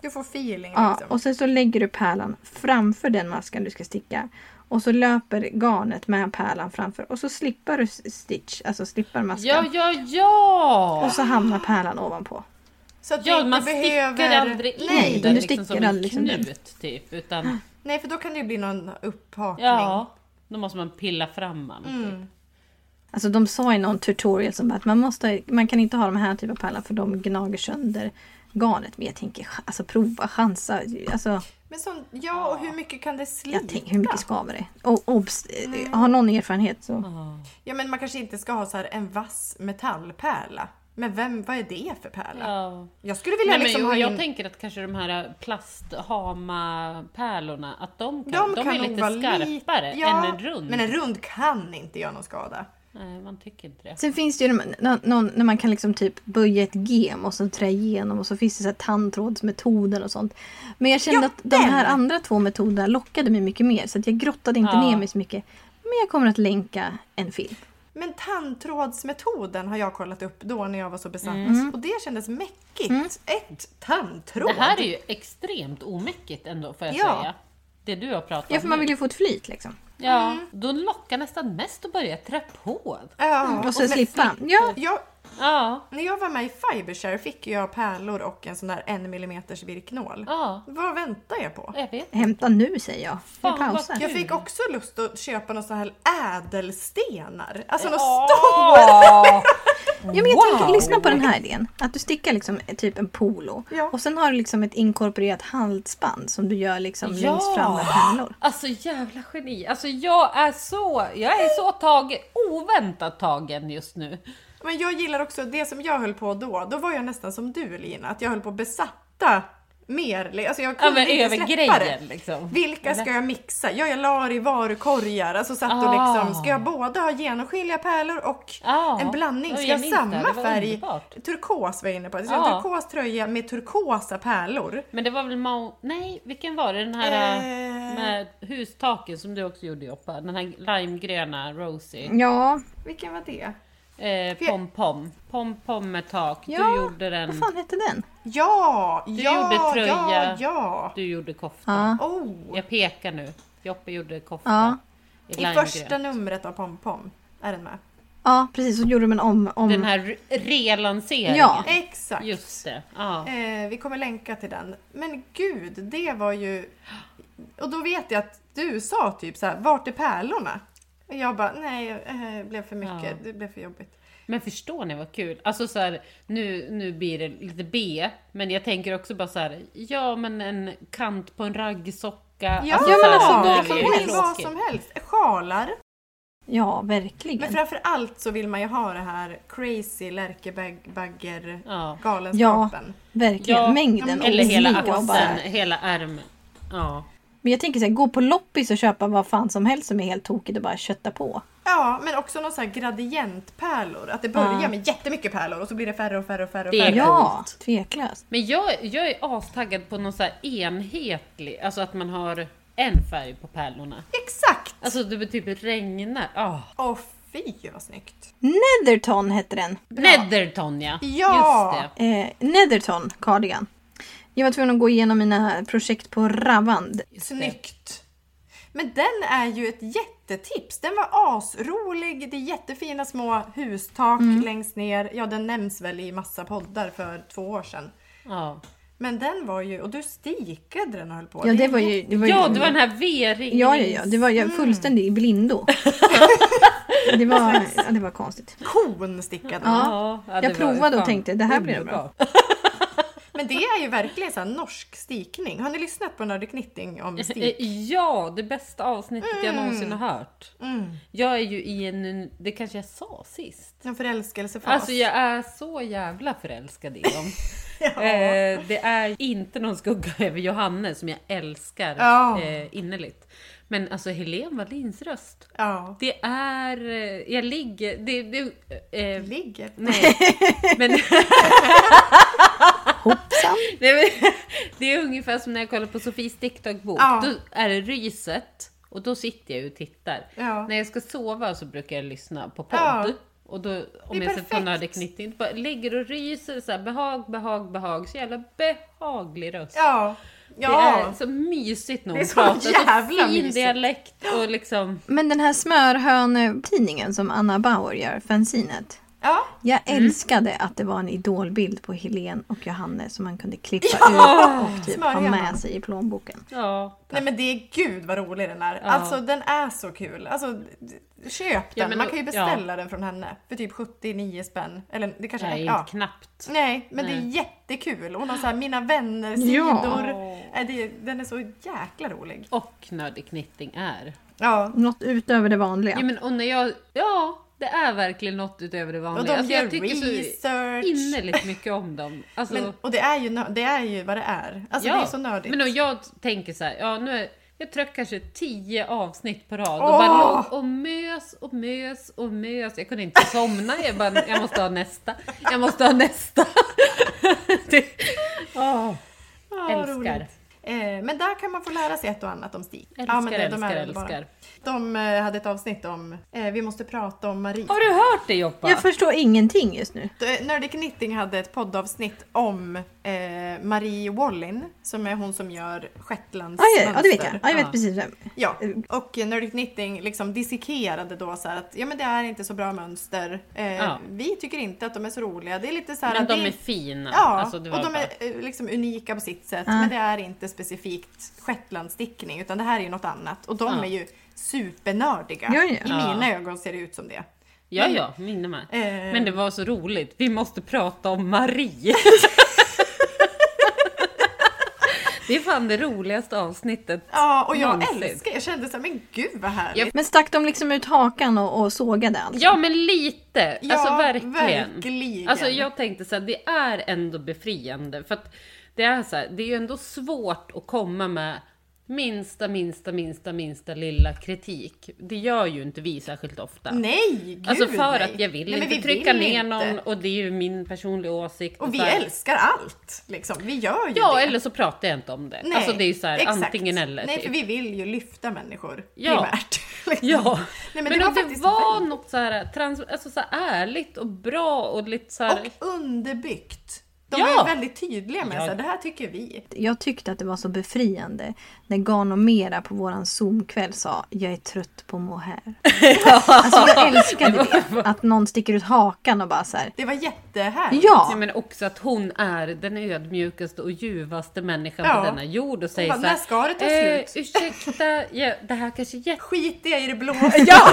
[SPEAKER 1] Du får feeling
[SPEAKER 3] Ja,
[SPEAKER 1] liksom.
[SPEAKER 3] och sen så lägger du pärlan framför den maskan du ska sticka. Och så löper garnet med pärlan framför och så slipar du s- stitch, alltså slippar maskan.
[SPEAKER 2] Ja, ja, ja!
[SPEAKER 3] Och så hamnar pärlan ovanpå.
[SPEAKER 1] Så att
[SPEAKER 2] Ja,
[SPEAKER 1] du
[SPEAKER 2] man
[SPEAKER 1] inte behöver...
[SPEAKER 2] stickar aldrig in
[SPEAKER 1] Nej.
[SPEAKER 2] den
[SPEAKER 3] du
[SPEAKER 2] liksom som
[SPEAKER 3] sticker
[SPEAKER 2] en
[SPEAKER 3] aldrig liksom den.
[SPEAKER 2] knut typ. Utan
[SPEAKER 1] Nej, för då kan det ju bli någon upphakning.
[SPEAKER 2] ja, då måste man pilla fram man. Typ.
[SPEAKER 3] Alltså de sa i någon tutorial som att man, måste, man kan inte ha de här typen av pärlan för de gnager sönder garnet. Men jag tänker, ch- alltså prova, chansa. Alltså,
[SPEAKER 1] Men sån, ja, och hur mycket kan det slita?
[SPEAKER 3] jag tänker, hur mycket skaver det? Och obs, eh, har någon erfarenhet så...
[SPEAKER 1] Ja, men man kanske inte ska ha så här en vass metallpärla. Men vem, vad är det för pärla?
[SPEAKER 2] Ja.
[SPEAKER 1] Jag skulle vilja
[SPEAKER 2] Nej,
[SPEAKER 1] liksom
[SPEAKER 2] men,
[SPEAKER 1] ha
[SPEAKER 2] jag,
[SPEAKER 1] in...
[SPEAKER 2] jag tänker att kanske de här plasthama-pärlorna, att de kan, de
[SPEAKER 1] kan
[SPEAKER 2] är
[SPEAKER 1] nog
[SPEAKER 2] lite
[SPEAKER 1] vara lite-
[SPEAKER 2] skarpare
[SPEAKER 1] ja,
[SPEAKER 2] än en rund.
[SPEAKER 1] Men en rund kan inte göra någon skada.
[SPEAKER 2] Nej, man tycker inte det.
[SPEAKER 3] Sen finns det ju de- nå- någon, när man kan liksom typ böja ett gem och så trä igenom och så finns det så här tandtrådsmetoden och sånt. Men jag kände
[SPEAKER 1] Ja,
[SPEAKER 3] att de här
[SPEAKER 1] den!
[SPEAKER 3] andra två metoderna lockade mig mycket mer så att jag grottade inte
[SPEAKER 2] Ja.
[SPEAKER 3] ner mig så mycket. Men jag kommer att länka en film.
[SPEAKER 1] Men tandtrådsmetoden har jag kollat upp då när jag var så besatt. Och det kändes mäckigt. Ett tandtråd!
[SPEAKER 2] Mm. Det här är ju extremt omäckigt ändå får jag
[SPEAKER 1] Ja.
[SPEAKER 2] säga. Det du har pratat om.
[SPEAKER 3] Ja, för man
[SPEAKER 2] nu.
[SPEAKER 3] vill ju få ett flyt liksom.
[SPEAKER 2] ja, Då lockar nästan mest att börja trä på.
[SPEAKER 1] Ja,
[SPEAKER 2] Mm.
[SPEAKER 3] Och sen
[SPEAKER 1] men-
[SPEAKER 3] slippa. Ja,
[SPEAKER 1] Jag,
[SPEAKER 2] Ja,
[SPEAKER 1] när jag var med i Fibershare fick jag pärlor och en sån där en millimeters virknål.
[SPEAKER 2] ja.
[SPEAKER 1] Vad väntar jag på?
[SPEAKER 2] Jag vet.
[SPEAKER 3] hämta nu säger jag. Vi
[SPEAKER 2] Fan, vad
[SPEAKER 3] pausar.
[SPEAKER 1] Jag fick också lust att köpa några såna här ädelstenar. Alltså några stora!
[SPEAKER 2] Ja.
[SPEAKER 3] Ja, men jag tänker,
[SPEAKER 2] Wow!
[SPEAKER 3] lyssna på den här idén. Att du stickar liksom typ en polo
[SPEAKER 1] Ja.
[SPEAKER 3] och sen har du liksom ett inkorporerat halsband som du gör liksom
[SPEAKER 2] Ja!
[SPEAKER 3] längst fram med pärlor.
[SPEAKER 2] Alltså jävla geni. Alltså jag är så, jag är så tagen, oväntat tagen just nu.
[SPEAKER 1] Men jag gillar också det som jag höll på då. Då var jag nästan som du Lina, att jag höll på att besatta mer. Alltså jag
[SPEAKER 2] Ja,
[SPEAKER 1] kunde
[SPEAKER 2] men
[SPEAKER 1] inte
[SPEAKER 2] över
[SPEAKER 1] släppa
[SPEAKER 2] grejen
[SPEAKER 1] det.
[SPEAKER 2] liksom.
[SPEAKER 1] Vilka ska jag mixa? Jag, jag la det i varukorgar. Alltså satt och
[SPEAKER 2] Ah.
[SPEAKER 1] liksom, ska jag både ha genomskinliga pärlor och
[SPEAKER 2] Ja.
[SPEAKER 1] en blandning?
[SPEAKER 2] Ja,
[SPEAKER 1] Ska
[SPEAKER 2] jag
[SPEAKER 1] jag ha
[SPEAKER 2] minns det.
[SPEAKER 1] samma
[SPEAKER 2] Det var
[SPEAKER 1] färg?
[SPEAKER 2] underbart. Ah.
[SPEAKER 1] Turkos var jag inne på. Alltså, jag har
[SPEAKER 2] Ja.
[SPEAKER 1] en turkos tröja med turkosa pärlor.
[SPEAKER 2] Men det var väl Mao... Nej, vilken var det? Den här
[SPEAKER 1] Eh.
[SPEAKER 2] eh... med hustaken som du också gjorde Joppa. Den här limegröna, rosy.
[SPEAKER 3] Ja,
[SPEAKER 1] Vilken var det?
[SPEAKER 2] Eh, pom-pom. Pom-pom med tak.
[SPEAKER 3] Ja,
[SPEAKER 2] Du gjorde den.
[SPEAKER 3] vad fan hette den?
[SPEAKER 1] Ja!
[SPEAKER 2] Du
[SPEAKER 1] ja,
[SPEAKER 2] gjorde tröja.
[SPEAKER 1] ja, ja!
[SPEAKER 2] Du gjorde kofta.
[SPEAKER 3] Ja.
[SPEAKER 1] Oh!
[SPEAKER 2] Jag pekar nu. Joppa gjorde kofta.
[SPEAKER 3] Ja.
[SPEAKER 2] I,
[SPEAKER 1] I
[SPEAKER 2] limegrön.
[SPEAKER 1] första numret av Pom Pom är den med.
[SPEAKER 3] Ja, precis. Så gjorde de en om... om...
[SPEAKER 2] Den här re- relanseringen.
[SPEAKER 3] Ja.
[SPEAKER 1] Exakt!
[SPEAKER 2] Just det. Ja.
[SPEAKER 1] Eh, vi kommer länka till den. Men gud, det var ju... Och då vet jag att du sa typ så här, vart är pärlorna? Och jag bara, nej, eh, det blev för mycket,
[SPEAKER 2] Ja.
[SPEAKER 1] det blev för jobbigt.
[SPEAKER 2] Men förstår ni vad kul? Alltså så här, nu, nu blir det lite B, men jag tänker också bara så här, ja men en kant på en raggsocka.
[SPEAKER 1] Ja,
[SPEAKER 3] ja,
[SPEAKER 2] så
[SPEAKER 3] men
[SPEAKER 2] här,
[SPEAKER 3] alltså,
[SPEAKER 2] det
[SPEAKER 3] vad
[SPEAKER 2] är
[SPEAKER 3] som
[SPEAKER 2] ju
[SPEAKER 3] helst.
[SPEAKER 2] tråkigt.
[SPEAKER 1] Vad som helst. Sjalar.
[SPEAKER 3] Ja,
[SPEAKER 1] Men
[SPEAKER 3] verkligen.
[SPEAKER 1] framför allt så vill man ju ha det här crazy lärkebagger
[SPEAKER 2] Ja.
[SPEAKER 1] galenskapen.
[SPEAKER 3] Verkligen.
[SPEAKER 2] Ja,
[SPEAKER 3] Mängden
[SPEAKER 2] Eller hela
[SPEAKER 3] olika och bara-
[SPEAKER 2] axeln, hela ärmen. Ja.
[SPEAKER 3] Men jag tänker så här, gå på loppis och köpa vad fan som helst som är helt tokigt och bara kötta på.
[SPEAKER 1] Ja, men också någon sån här gradientpärlor. Att det börjar med jättemycket pärlor och så blir det färre och färre och färre. Och
[SPEAKER 2] Det är
[SPEAKER 1] färre.
[SPEAKER 3] Ja, tveklöst.
[SPEAKER 2] Men jag, jag är astaggad på någon så här enhetlig, alltså att man har en färg på pärlorna.
[SPEAKER 1] Exakt!
[SPEAKER 2] Alltså det typ regnar. ah
[SPEAKER 1] Åh fy vad snyggt!
[SPEAKER 3] Netherton hette den.
[SPEAKER 2] Netherton ja!
[SPEAKER 1] Ja.
[SPEAKER 2] Just det.
[SPEAKER 3] Eh, Netherton cardigan. Jag var tvungen att gå igenom mina projekt på Ravand.
[SPEAKER 2] Just det.
[SPEAKER 1] Snyggt! Men den är ju ett jättetips! Den var asrolig, det är jättefina små hustak
[SPEAKER 2] Mm.
[SPEAKER 1] längst ner. Ja, den nämns väl i massa poddar för två år sedan.
[SPEAKER 2] Ja.
[SPEAKER 1] Men den var ju, och du stikade den och höll på.
[SPEAKER 3] Ja,
[SPEAKER 1] Det
[SPEAKER 3] det
[SPEAKER 1] är
[SPEAKER 3] var ju... Det var ju
[SPEAKER 2] ja, det var Mm. den här V-ringen.
[SPEAKER 3] Ja, ja, ja. Det var jag fullständig i blindo. det, var, ja, det var konstigt.
[SPEAKER 1] kon stickade den.
[SPEAKER 2] Ja, ja, det
[SPEAKER 3] Jag
[SPEAKER 2] var
[SPEAKER 3] provade och
[SPEAKER 2] fan
[SPEAKER 3] tänkte, det här blir
[SPEAKER 2] underbart.
[SPEAKER 1] Men det är ju verkligen så här norsk stikning. Har ni lyssnat på Nördig Knitting om
[SPEAKER 2] Eh,
[SPEAKER 1] stik?
[SPEAKER 2] Ja, det bästa avsnittet jag någonsin har hört.
[SPEAKER 1] Mm.
[SPEAKER 2] Jag är ju i en, det kanske jag sa sist.
[SPEAKER 1] En förälskelsefas.
[SPEAKER 2] Alltså jag är så jävla förälskad i dem.
[SPEAKER 1] Ja.
[SPEAKER 2] eh, det är inte någon skugga över Johanne som jag älskar
[SPEAKER 1] Ja.
[SPEAKER 2] eh, innerligt. Men alltså Helen Wallins röst.
[SPEAKER 1] Ja.
[SPEAKER 2] Det är, eh, jag ligger, det, det eh,
[SPEAKER 1] Ligger.
[SPEAKER 2] nej. Men
[SPEAKER 3] Hoppsan.
[SPEAKER 2] Nej, men, det är ungefär som när jag kollar på Sofies TikTok-bok.
[SPEAKER 1] Ja.
[SPEAKER 2] Då är det ryset och då sitter jag ju och tittar.
[SPEAKER 1] Ja.
[SPEAKER 2] När jag ska sova så brukar jag lyssna på podd.
[SPEAKER 1] Ja.
[SPEAKER 2] Och då, om
[SPEAKER 1] Det är
[SPEAKER 2] jag sätter på
[SPEAKER 1] perfekt.
[SPEAKER 2] Nördig Knitting, bara ligger och ryser så här, behag, behag, behag. Så jävla behaglig röst.
[SPEAKER 1] Ja.
[SPEAKER 2] Det är
[SPEAKER 1] Ja.
[SPEAKER 2] så mysigt när
[SPEAKER 1] Det är
[SPEAKER 2] hon
[SPEAKER 1] så
[SPEAKER 2] pratar. Så
[SPEAKER 1] jävla
[SPEAKER 2] fin
[SPEAKER 1] mysigt.
[SPEAKER 2] dialekt och liksom...
[SPEAKER 3] Men den här smörhönetidningen som Anna Bauer gör, fanzinet.
[SPEAKER 1] ja.
[SPEAKER 3] Jag
[SPEAKER 2] Mm.
[SPEAKER 3] älskade att det var en idolbild på Helen och Johanne som man kunde klippa ut och typ ha
[SPEAKER 1] Smörhönan.
[SPEAKER 3] med sig i plånboken.
[SPEAKER 2] Ja.
[SPEAKER 1] Nej men det är gud vad rolig den är. Alltså den är så kul. Alltså d- köp den.
[SPEAKER 2] Ja, men
[SPEAKER 1] Man
[SPEAKER 2] då-
[SPEAKER 1] kan ju beställa den från henne för typ 79 spänn. Eller det kanske
[SPEAKER 2] Nej,
[SPEAKER 1] är... Ja.
[SPEAKER 2] knappt.
[SPEAKER 1] Nej, men det
[SPEAKER 2] Nej.
[SPEAKER 1] är jättekul. Hon har så här mina vänner-sidor.
[SPEAKER 3] Ja.
[SPEAKER 1] Äh, det- Den är så jäkla rolig.
[SPEAKER 2] Och Nördig Knitting är.
[SPEAKER 1] Ja.
[SPEAKER 3] Något utöver det vanliga.
[SPEAKER 2] Ja, men och när jag... Ja, det är verkligen något utöver det vanliga.
[SPEAKER 1] Och de
[SPEAKER 2] Alltså,
[SPEAKER 1] gör
[SPEAKER 2] jag tycker så
[SPEAKER 1] research.
[SPEAKER 2] innerligt mycket om dem. Alltså,
[SPEAKER 1] Men, och det är, ju, nö- det är ju vad det är. Alltså det är så nördigt.
[SPEAKER 2] Men och jag tänker så här, ja nu är jag trött kanske tio avsnitt på rad och
[SPEAKER 1] Åh!
[SPEAKER 2] bara låg och mös och mös och mös. Jag kunde inte somna, jag bara, jag måste ha nästa, jag måste ha nästa. det, åh,
[SPEAKER 1] Ja,
[SPEAKER 2] älskar.
[SPEAKER 1] roligt. Eh, men där kan man få lära sig ett och annat om stil.
[SPEAKER 2] Älskar,
[SPEAKER 1] men
[SPEAKER 2] älskar,
[SPEAKER 1] underbara.
[SPEAKER 2] älskar.
[SPEAKER 1] De eh, hade ett avsnitt om, eh, vi måste prata om Marie.
[SPEAKER 2] Har du hört det Joppa?
[SPEAKER 3] Jag förstår ingenting just nu.
[SPEAKER 1] D- Nerdic Eh, Knitting hade ett poddavsnitt om eh, Marie Wallin, som är hon som gör
[SPEAKER 3] Ah,
[SPEAKER 1] shetlandsmönster.
[SPEAKER 3] ja, ja, det vet jag. mm. Ah, jag
[SPEAKER 2] Ja.
[SPEAKER 3] vet precis vem.
[SPEAKER 1] Ja, och Nerdic Knitting liksom dissekerade då så här att ja, men det är inte så bra mönster. Eh,
[SPEAKER 2] Ja.
[SPEAKER 1] Vi tycker inte att de är så roliga. Det är lite så här
[SPEAKER 2] Men
[SPEAKER 1] att
[SPEAKER 2] de
[SPEAKER 1] det-
[SPEAKER 2] är fina.
[SPEAKER 1] Ja,
[SPEAKER 2] Alltså, det var
[SPEAKER 1] och de
[SPEAKER 2] bara-
[SPEAKER 1] är eh, liksom unika på sitt sätt. Men det är inte specifikt shetlandstickning utan det här är ju något annat. Och de
[SPEAKER 2] Ja.
[SPEAKER 1] är ju supernördiga.
[SPEAKER 3] Ja, ja.
[SPEAKER 1] I
[SPEAKER 2] Ja.
[SPEAKER 1] mina ögon ser det ut som det.
[SPEAKER 2] Ja, ja, minne med.
[SPEAKER 1] Eh.
[SPEAKER 2] Men det var så roligt. Vi måste prata om Marie. det är fan det roligaste avsnittet.
[SPEAKER 1] Ja, och jag
[SPEAKER 2] Någonsin.
[SPEAKER 1] älskar Jag kände såhär, men gud vad härligt.
[SPEAKER 2] Ja,
[SPEAKER 3] Men stack de liksom ut hakan och, och sågade allt?
[SPEAKER 2] Ja, men lite.
[SPEAKER 1] Ja,
[SPEAKER 2] alltså verkligen.
[SPEAKER 1] verkligen.
[SPEAKER 2] Alltså jag tänkte så här, det är ändå befriande. För att det är så här, det är ju ändå svårt att komma med minsta, minsta, minsta, minsta lilla kritik. Det gör ju inte vi särskilt ofta.
[SPEAKER 1] Nej, gud
[SPEAKER 2] Alltså för
[SPEAKER 1] nej.
[SPEAKER 2] att jag vill
[SPEAKER 1] Nej, men
[SPEAKER 2] inte
[SPEAKER 1] vi
[SPEAKER 2] trycka
[SPEAKER 1] vill
[SPEAKER 2] ner
[SPEAKER 1] inte.
[SPEAKER 2] någon och det är ju min personliga åsikt.
[SPEAKER 1] Och vi
[SPEAKER 2] så här.
[SPEAKER 1] älskar allt. Liksom. Vi gör ju
[SPEAKER 2] Ja,
[SPEAKER 1] det.
[SPEAKER 2] eller så pratar jag inte om det.
[SPEAKER 1] Nej,
[SPEAKER 2] alltså det är ju så här,
[SPEAKER 1] exakt.
[SPEAKER 2] antingen eller.
[SPEAKER 1] Nej,
[SPEAKER 2] typ.
[SPEAKER 1] för vi vill ju lyfta människor
[SPEAKER 2] Ja.
[SPEAKER 1] primärt. liksom.
[SPEAKER 2] Ja,
[SPEAKER 1] Nej, men,
[SPEAKER 2] men,
[SPEAKER 1] det var
[SPEAKER 2] om det
[SPEAKER 1] faktiskt
[SPEAKER 2] var något så här, trans, alltså så här ärligt och bra och lite så här,
[SPEAKER 1] Och underbyggt. De
[SPEAKER 2] Ja!
[SPEAKER 1] är väldigt tydliga med
[SPEAKER 2] Ja.
[SPEAKER 1] att det här tycker vi.
[SPEAKER 3] Jag tyckte att det var så befriande när Gano Mera på våran Zoom-kväll sa jag är trött på mohair. alltså jag älskade det. Att någon sticker ut hakan och bara så här.
[SPEAKER 1] Det var jättehärligt.
[SPEAKER 3] Ja!
[SPEAKER 2] Nej, men också att hon är den ödmjukaste och ljuvaste människan
[SPEAKER 1] Ja.
[SPEAKER 2] på denna jord och säger
[SPEAKER 1] bara,
[SPEAKER 2] så här,
[SPEAKER 1] "När ska det ta
[SPEAKER 2] eh,
[SPEAKER 1] slut?"
[SPEAKER 2] Ursäkta, ja, det här kanske är jätte...
[SPEAKER 1] Skit i det blå.
[SPEAKER 2] Ja!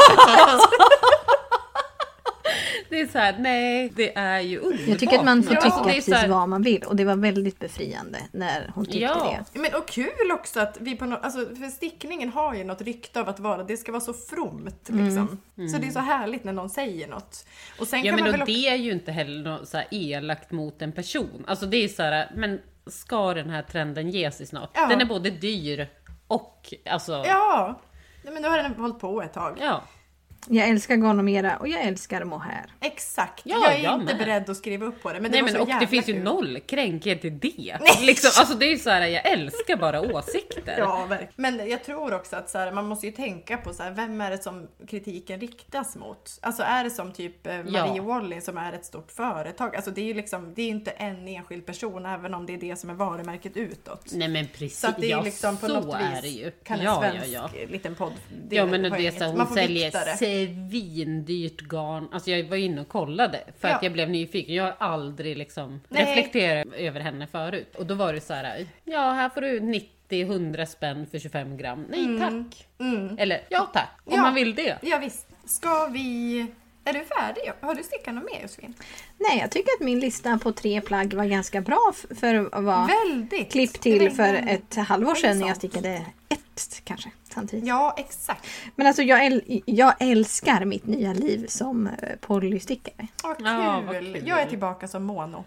[SPEAKER 2] det är så här, nej, det är ju underbart.
[SPEAKER 3] Jag tycker att man får
[SPEAKER 2] Ja, alltså,
[SPEAKER 3] tycka
[SPEAKER 2] det är så
[SPEAKER 3] precis
[SPEAKER 2] här-
[SPEAKER 3] vad man vill och det var väldigt befriande när hon tyckte
[SPEAKER 2] Ja.
[SPEAKER 3] det.
[SPEAKER 1] Men och kul också att vi på något, alltså för stickningen har ju något rykte av att vara, det ska vara så fromt liksom. Så det är så härligt när någon säger något. Och sen
[SPEAKER 2] Mm. Ja
[SPEAKER 1] kan man
[SPEAKER 2] men
[SPEAKER 1] väl
[SPEAKER 2] och
[SPEAKER 1] också...
[SPEAKER 2] det är ju inte heller något så här elakt mot en person. Alltså det är så här, men ska den här trenden ge sig snart?
[SPEAKER 1] Ja.
[SPEAKER 2] Den är både dyr och alltså, ja.
[SPEAKER 1] Ja! Nej, men nu har den hållit på ett tag.
[SPEAKER 3] Jag älskar Gano Mera och jag älskar mohair.
[SPEAKER 1] Exakt.
[SPEAKER 2] Ja,
[SPEAKER 1] jag är
[SPEAKER 2] jag
[SPEAKER 1] inte
[SPEAKER 2] med.
[SPEAKER 1] beredd att skriva upp på det. Men det
[SPEAKER 2] Nej
[SPEAKER 1] var
[SPEAKER 2] men
[SPEAKER 1] så
[SPEAKER 2] och
[SPEAKER 1] jävla
[SPEAKER 2] det finns ju
[SPEAKER 1] kul.
[SPEAKER 2] noll kränkhet i det. Liksom, alltså det är ju så här, jag älskar bara åsikter.
[SPEAKER 1] Ja, verkligen. Men jag tror också att så här, man måste ju tänka på så här, vem är det som kritiken riktas mot? Alltså är det som typ eh, Marie
[SPEAKER 2] Ja.
[SPEAKER 1] Wallin som är ett stort företag? Alltså det är ju liksom, det är ju inte en enskild person även om det är det som är varumärket utåt.
[SPEAKER 2] Nej men precis,
[SPEAKER 1] Så att det är
[SPEAKER 2] ja,
[SPEAKER 1] liksom på
[SPEAKER 2] så
[SPEAKER 1] något
[SPEAKER 2] är
[SPEAKER 1] vis
[SPEAKER 2] det ju.
[SPEAKER 1] kan en
[SPEAKER 2] ja, ja,
[SPEAKER 1] svensk
[SPEAKER 2] ja.
[SPEAKER 1] eh, liten podd... det
[SPEAKER 2] Ja men det
[SPEAKER 1] har
[SPEAKER 2] är
[SPEAKER 1] inget-
[SPEAKER 2] så här,
[SPEAKER 1] man
[SPEAKER 2] hon
[SPEAKER 1] får
[SPEAKER 2] säljer
[SPEAKER 1] vikta det.
[SPEAKER 2] svindyrt garn. Alltså jag var inne och kollade för
[SPEAKER 1] Ja.
[SPEAKER 2] att jag blev nyfiken. Jag har aldrig liksom
[SPEAKER 1] Nej.
[SPEAKER 2] reflekterat över henne förut. Och då var det så här, ja här får du 90-100 spänn för 25 gram. Nej tack! Eller ja tack, om
[SPEAKER 1] Mm. Ja.
[SPEAKER 2] man vill det.
[SPEAKER 1] Ja, visst. Ska vi... Är du färdig? Har du stickat något mer Josefin?
[SPEAKER 3] Nej, jag tycker att min lista på tre plagg var ganska bra f- för att vara
[SPEAKER 1] Väldigt!
[SPEAKER 3] klipp
[SPEAKER 1] Det
[SPEAKER 3] till
[SPEAKER 1] är
[SPEAKER 3] för
[SPEAKER 1] en-
[SPEAKER 3] ett
[SPEAKER 1] det
[SPEAKER 3] halvår
[SPEAKER 1] är
[SPEAKER 3] sedan när jag
[SPEAKER 1] sant.
[SPEAKER 3] stickade ett kanske samtidigt.
[SPEAKER 1] Ja, exakt.
[SPEAKER 3] Men alltså jag, äl- jag älskar mitt nya liv som eh, polystickare.
[SPEAKER 1] Vad kul.
[SPEAKER 2] Ja, vad kul.
[SPEAKER 1] Jag är tillbaka som mono.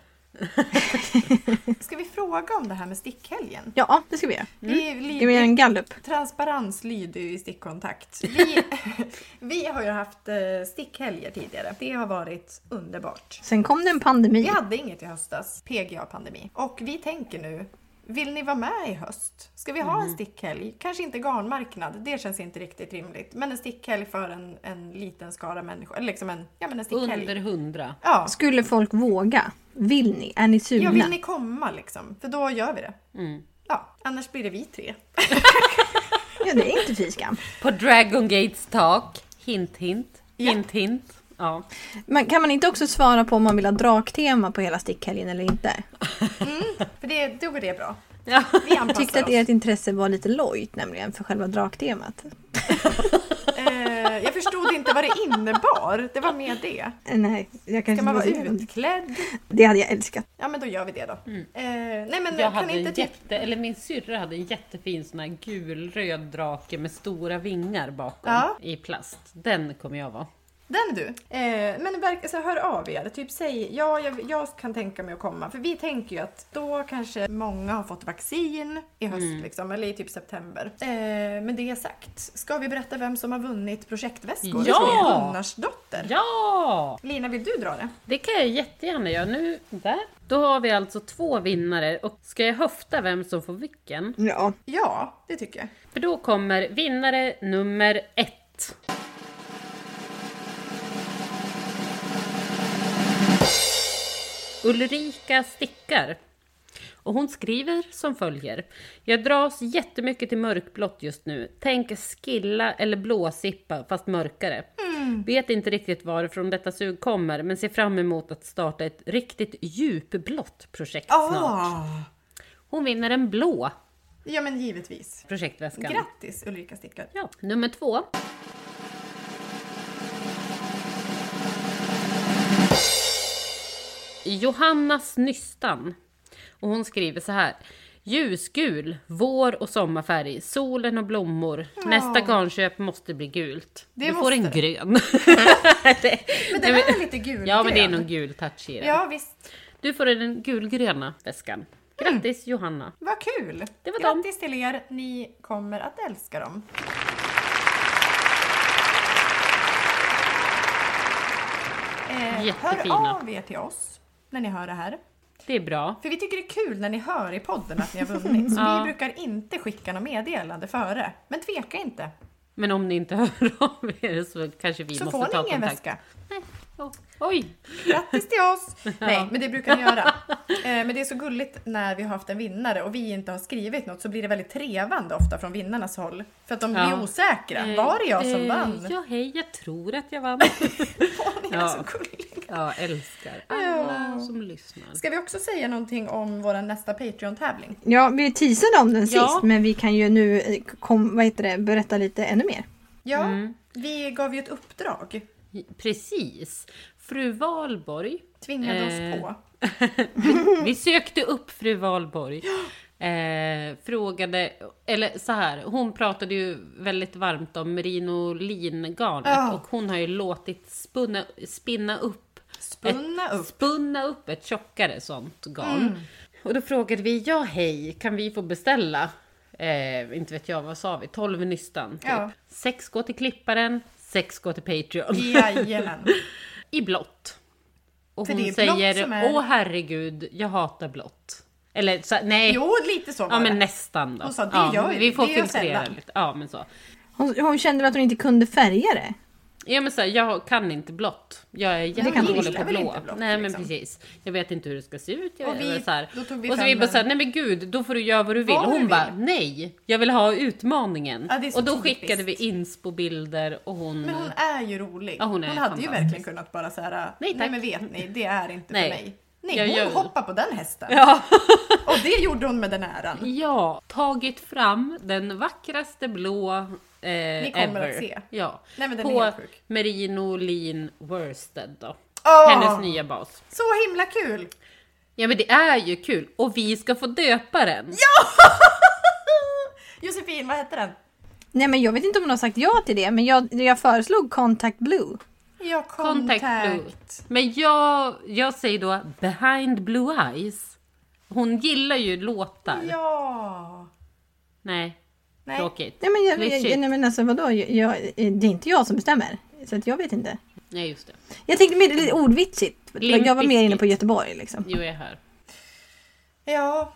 [SPEAKER 1] Ska vi fråga om det här med stickhelgen?
[SPEAKER 3] Ja, det ska vi göra.
[SPEAKER 1] Vi
[SPEAKER 2] Mm.
[SPEAKER 3] Ska vi göra
[SPEAKER 1] lyder,
[SPEAKER 3] en gallup?
[SPEAKER 1] transparens lyder ju i stickkontakt. Vi, vi har ju haft eh, stickhelger tidigare. Det har varit underbart.
[SPEAKER 3] Sen kom det en pandemi.
[SPEAKER 1] Vi hade inget i höstas, PGA-pandemi. Och vi tänker nu, vill ni vara med i höst? Ska vi
[SPEAKER 2] Mm.
[SPEAKER 1] ha en stickhelg? Kanske inte garnmarknad, det känns inte riktigt rimligt. Men en stickhelg för en, en liten skara människor. Eller liksom en, ja men en stickhelg.
[SPEAKER 2] Under 100.
[SPEAKER 1] Ja.
[SPEAKER 3] Skulle folk våga? Vill ni? Är ni sugna?
[SPEAKER 1] ja, vill ni komma liksom? För då gör vi det.
[SPEAKER 2] Mm.
[SPEAKER 1] Ja, annars blir det vi tre.
[SPEAKER 3] Ja, det är inte fy skam.
[SPEAKER 2] På Dragon Gates tak. Hint hint. Hint hint. Ja.
[SPEAKER 3] Men kan man inte också svara på om man vill ha draktema på hela stickhelgen eller inte?
[SPEAKER 1] För det, då går det bra.
[SPEAKER 2] ja.
[SPEAKER 1] Vi
[SPEAKER 3] Jag
[SPEAKER 1] anpassar
[SPEAKER 3] tyckte att
[SPEAKER 1] oss.
[SPEAKER 3] ert intresse var lite lojt nämligen för själva draktemat.
[SPEAKER 1] Eh, jag förstod inte vad det innebar. Det var med det.
[SPEAKER 3] Eh, Nej, jag kanske
[SPEAKER 1] Ska man vara
[SPEAKER 3] inte var så-
[SPEAKER 1] utklädd?
[SPEAKER 3] Det hade jag älskat.
[SPEAKER 1] Ja, men då gör vi det då. Eh, nej, men
[SPEAKER 2] Mm.
[SPEAKER 1] kan
[SPEAKER 2] Jag hade
[SPEAKER 1] inte
[SPEAKER 2] en
[SPEAKER 1] typ...
[SPEAKER 2] jätte, eller min syrra hade en jättefin sån här gulröd drake med stora vingar bakom
[SPEAKER 1] Ja.
[SPEAKER 2] i plast. Den kommer jag vara.
[SPEAKER 1] Den du! Eh, men verk- så hör av er. Typ säg, ja, jag, jag kan tänka mig att komma. För vi tänker ju att då kanske många har fått vaccin i höst
[SPEAKER 2] Mm.
[SPEAKER 1] liksom, eller i typ september. Eh, men det är sagt, ska vi berätta vem som har vunnit projektväskor?
[SPEAKER 2] Ja!
[SPEAKER 1] Gunnarsdotter!
[SPEAKER 2] Ja!
[SPEAKER 1] Lina, vill du dra det?
[SPEAKER 2] Det kan jag jättegärna göra. Nu, där. Då har vi alltså två vinnare och ska jag höfta vem som får vilken?
[SPEAKER 3] Ja.
[SPEAKER 1] Ja, det tycker jag.
[SPEAKER 2] För då kommer vinnare nummer ett. Ulrika stickar. Och hon skriver som följer. Jag dras jättemycket till mörkblått just nu. Tänk skilla eller blåsippa fast mörkare. Vet inte riktigt varifrån detta sug kommer men ser fram emot att starta ett riktigt djupblått projekt snart.
[SPEAKER 1] Ah.
[SPEAKER 2] Hon vinner en blå
[SPEAKER 1] Ja, men givetvis.
[SPEAKER 2] projektväskan.
[SPEAKER 1] Grattis Ulrika Stickar!
[SPEAKER 2] Ja. Nummer två. Johannas Nystan. Och hon skriver så här. Ljusgul, vår och sommarfärg, solen och blommor. Nästa garnköp måste bli gult.
[SPEAKER 1] Det
[SPEAKER 2] du får en
[SPEAKER 1] måste
[SPEAKER 2] grön.
[SPEAKER 1] Men
[SPEAKER 2] Nej,
[SPEAKER 1] den
[SPEAKER 2] men-
[SPEAKER 1] är lite gulgrön.
[SPEAKER 2] ja men det är någon gul touch i den.
[SPEAKER 1] Ja, visst.
[SPEAKER 2] Du får den gulgröna väskan.
[SPEAKER 1] Mm.
[SPEAKER 2] Grattis Johanna!
[SPEAKER 1] Vad kul!
[SPEAKER 2] Det var dem.
[SPEAKER 1] Grattis till er, ni kommer att älska dem. Eh,
[SPEAKER 2] Jättefina.
[SPEAKER 1] hör av er till oss när ni hör det här.
[SPEAKER 2] Det är bra.
[SPEAKER 1] För vi tycker det är kul när ni hör i podden att ni har vunnit. Så
[SPEAKER 2] Ja.
[SPEAKER 1] vi brukar inte skicka något meddelande före. Men tveka inte,
[SPEAKER 2] Men om ni inte hör av er så kanske vi
[SPEAKER 1] så
[SPEAKER 2] måste
[SPEAKER 1] får
[SPEAKER 2] ta
[SPEAKER 1] ni ingen
[SPEAKER 2] kontakt.
[SPEAKER 1] väska.
[SPEAKER 2] Nej, Oj!
[SPEAKER 1] Grattis till oss! Nej, men det brukar ni göra. Eh, Men det är så gulligt när vi har haft en vinnare och vi inte har skrivit något så blir det väldigt trevande ofta från vinnarnas håll. För att de blir
[SPEAKER 2] Ja.
[SPEAKER 1] osäkra. Var det jag som
[SPEAKER 2] Eh,
[SPEAKER 1] vann?
[SPEAKER 2] Ja, hej, jag tror att jag vann.
[SPEAKER 1] Var ni
[SPEAKER 2] Ja.
[SPEAKER 1] så gulliga?
[SPEAKER 2] Ja, älskar alla som lyssnar.
[SPEAKER 1] Ska vi också säga någonting om vår nästa Patreon-tävling?
[SPEAKER 3] Ja, vi teasade om den sist
[SPEAKER 2] Ja.
[SPEAKER 3] men vi kan ju nu eh, kom, vad heter det, berätta lite ännu mer.
[SPEAKER 1] Ja,
[SPEAKER 2] Mm.
[SPEAKER 1] vi gav ju ett uppdrag.
[SPEAKER 2] Precis. Fru Valborg.
[SPEAKER 1] Tvingade
[SPEAKER 2] Eh,
[SPEAKER 1] oss på.
[SPEAKER 2] Vi sökte upp fru Valborg. Eh, frågade, eller så här, hon pratade ju väldigt varmt om merinolingarnet
[SPEAKER 1] Ja.
[SPEAKER 2] och hon har ju låtit spunna, spinna upp
[SPEAKER 1] Spunna upp.
[SPEAKER 2] spunna upp ett tjockare sånt garn. Och då frågade vi, ja hej, kan vi få beställa? Eh, inte vet jag, vad sa vi? 12 nystan. Typ.
[SPEAKER 1] Ja.
[SPEAKER 2] Sex går till klipparen, sex går till Patreon.
[SPEAKER 1] Jajamän.
[SPEAKER 2] I blått. Och
[SPEAKER 1] För
[SPEAKER 2] hon
[SPEAKER 1] det är blått
[SPEAKER 2] säger,
[SPEAKER 1] som är-
[SPEAKER 2] åh herregud, jag hatar blått. Eller så, nej,
[SPEAKER 1] Jo, lite så var
[SPEAKER 2] ja men
[SPEAKER 1] det.
[SPEAKER 2] nästan då.
[SPEAKER 1] Hon sa, det
[SPEAKER 2] ja,
[SPEAKER 1] gör ju-
[SPEAKER 2] vi får
[SPEAKER 1] det gör
[SPEAKER 2] filtrera
[SPEAKER 1] sällan.
[SPEAKER 2] lite. Ja men så.
[SPEAKER 3] Hon, hon kände att hon inte kunde färga det.
[SPEAKER 2] Ja men så här, jag kan inte blått. Jag är
[SPEAKER 1] kan
[SPEAKER 2] jättedålig
[SPEAKER 1] gillar
[SPEAKER 2] på
[SPEAKER 1] väl
[SPEAKER 2] blå.
[SPEAKER 1] inte blått,
[SPEAKER 2] nej
[SPEAKER 1] liksom.
[SPEAKER 2] men precis. Jag vet inte hur det ska se ut. Jag
[SPEAKER 1] Och
[SPEAKER 2] vet,
[SPEAKER 1] vi-
[SPEAKER 2] så här.
[SPEAKER 1] då tog vi
[SPEAKER 2] och så
[SPEAKER 1] fram
[SPEAKER 2] vi bara
[SPEAKER 1] den.
[SPEAKER 2] såhär, nej men gud, då får du göra vad du vill.
[SPEAKER 1] Vad
[SPEAKER 2] och hon
[SPEAKER 1] du
[SPEAKER 2] bara,
[SPEAKER 1] vill.
[SPEAKER 2] nej, jag vill ha utmaningen.
[SPEAKER 1] Ja, det är så
[SPEAKER 2] och då
[SPEAKER 1] typiskt.
[SPEAKER 2] skickade vi inspo-bilder och hon...
[SPEAKER 1] Men hon är ju rolig.
[SPEAKER 2] Mm. Ja, hon är
[SPEAKER 1] hade ju
[SPEAKER 2] fantastisk.
[SPEAKER 1] verkligen kunnat bara så här, nej,
[SPEAKER 2] tack.
[SPEAKER 1] men vet ni, det är inte
[SPEAKER 2] Nej.
[SPEAKER 1] för mig. Nej,
[SPEAKER 2] Jag
[SPEAKER 1] hon
[SPEAKER 2] gör-
[SPEAKER 1] hoppar på den hästen.
[SPEAKER 2] Ja.
[SPEAKER 1] Och det gjorde hon med den äran.
[SPEAKER 2] Ja, tagit fram den vackraste blå eh, Ni
[SPEAKER 1] kommer att se.
[SPEAKER 2] Ja.
[SPEAKER 1] Nej, men den är
[SPEAKER 2] på
[SPEAKER 1] helt sjuk.
[SPEAKER 2] Merino Lean Worsted då.
[SPEAKER 1] Åh!
[SPEAKER 2] Hennes nya bas.
[SPEAKER 1] Så himla kul!
[SPEAKER 2] Ja men det är ju kul och vi ska få döpa den.
[SPEAKER 1] Josefin, vad hette den?
[SPEAKER 3] Nej men jag vet inte om hon har sagt ja till det men jag, jag föreslog Contact Blue.
[SPEAKER 1] Ja,
[SPEAKER 2] Contact
[SPEAKER 1] contact.
[SPEAKER 2] Blue. Men jag, jag säger då Behind Blue Eyes. Hon gillar ju låtar.
[SPEAKER 1] Ja.
[SPEAKER 2] Nej,
[SPEAKER 1] Nej.
[SPEAKER 2] tråkigt.
[SPEAKER 3] Nej men, jag,
[SPEAKER 2] Klyschigt.
[SPEAKER 3] jag, nej, men alltså vadå, jag, jag, eh, det är inte jag som bestämmer. Så att jag vet inte.
[SPEAKER 2] Nej just det.
[SPEAKER 3] Jag tänkte mer lite ordvitsigt.
[SPEAKER 2] Limp
[SPEAKER 3] Jag var mer inne på
[SPEAKER 2] Bizkit.
[SPEAKER 3] Göteborg liksom.
[SPEAKER 2] Jo jag är här.
[SPEAKER 1] Ja.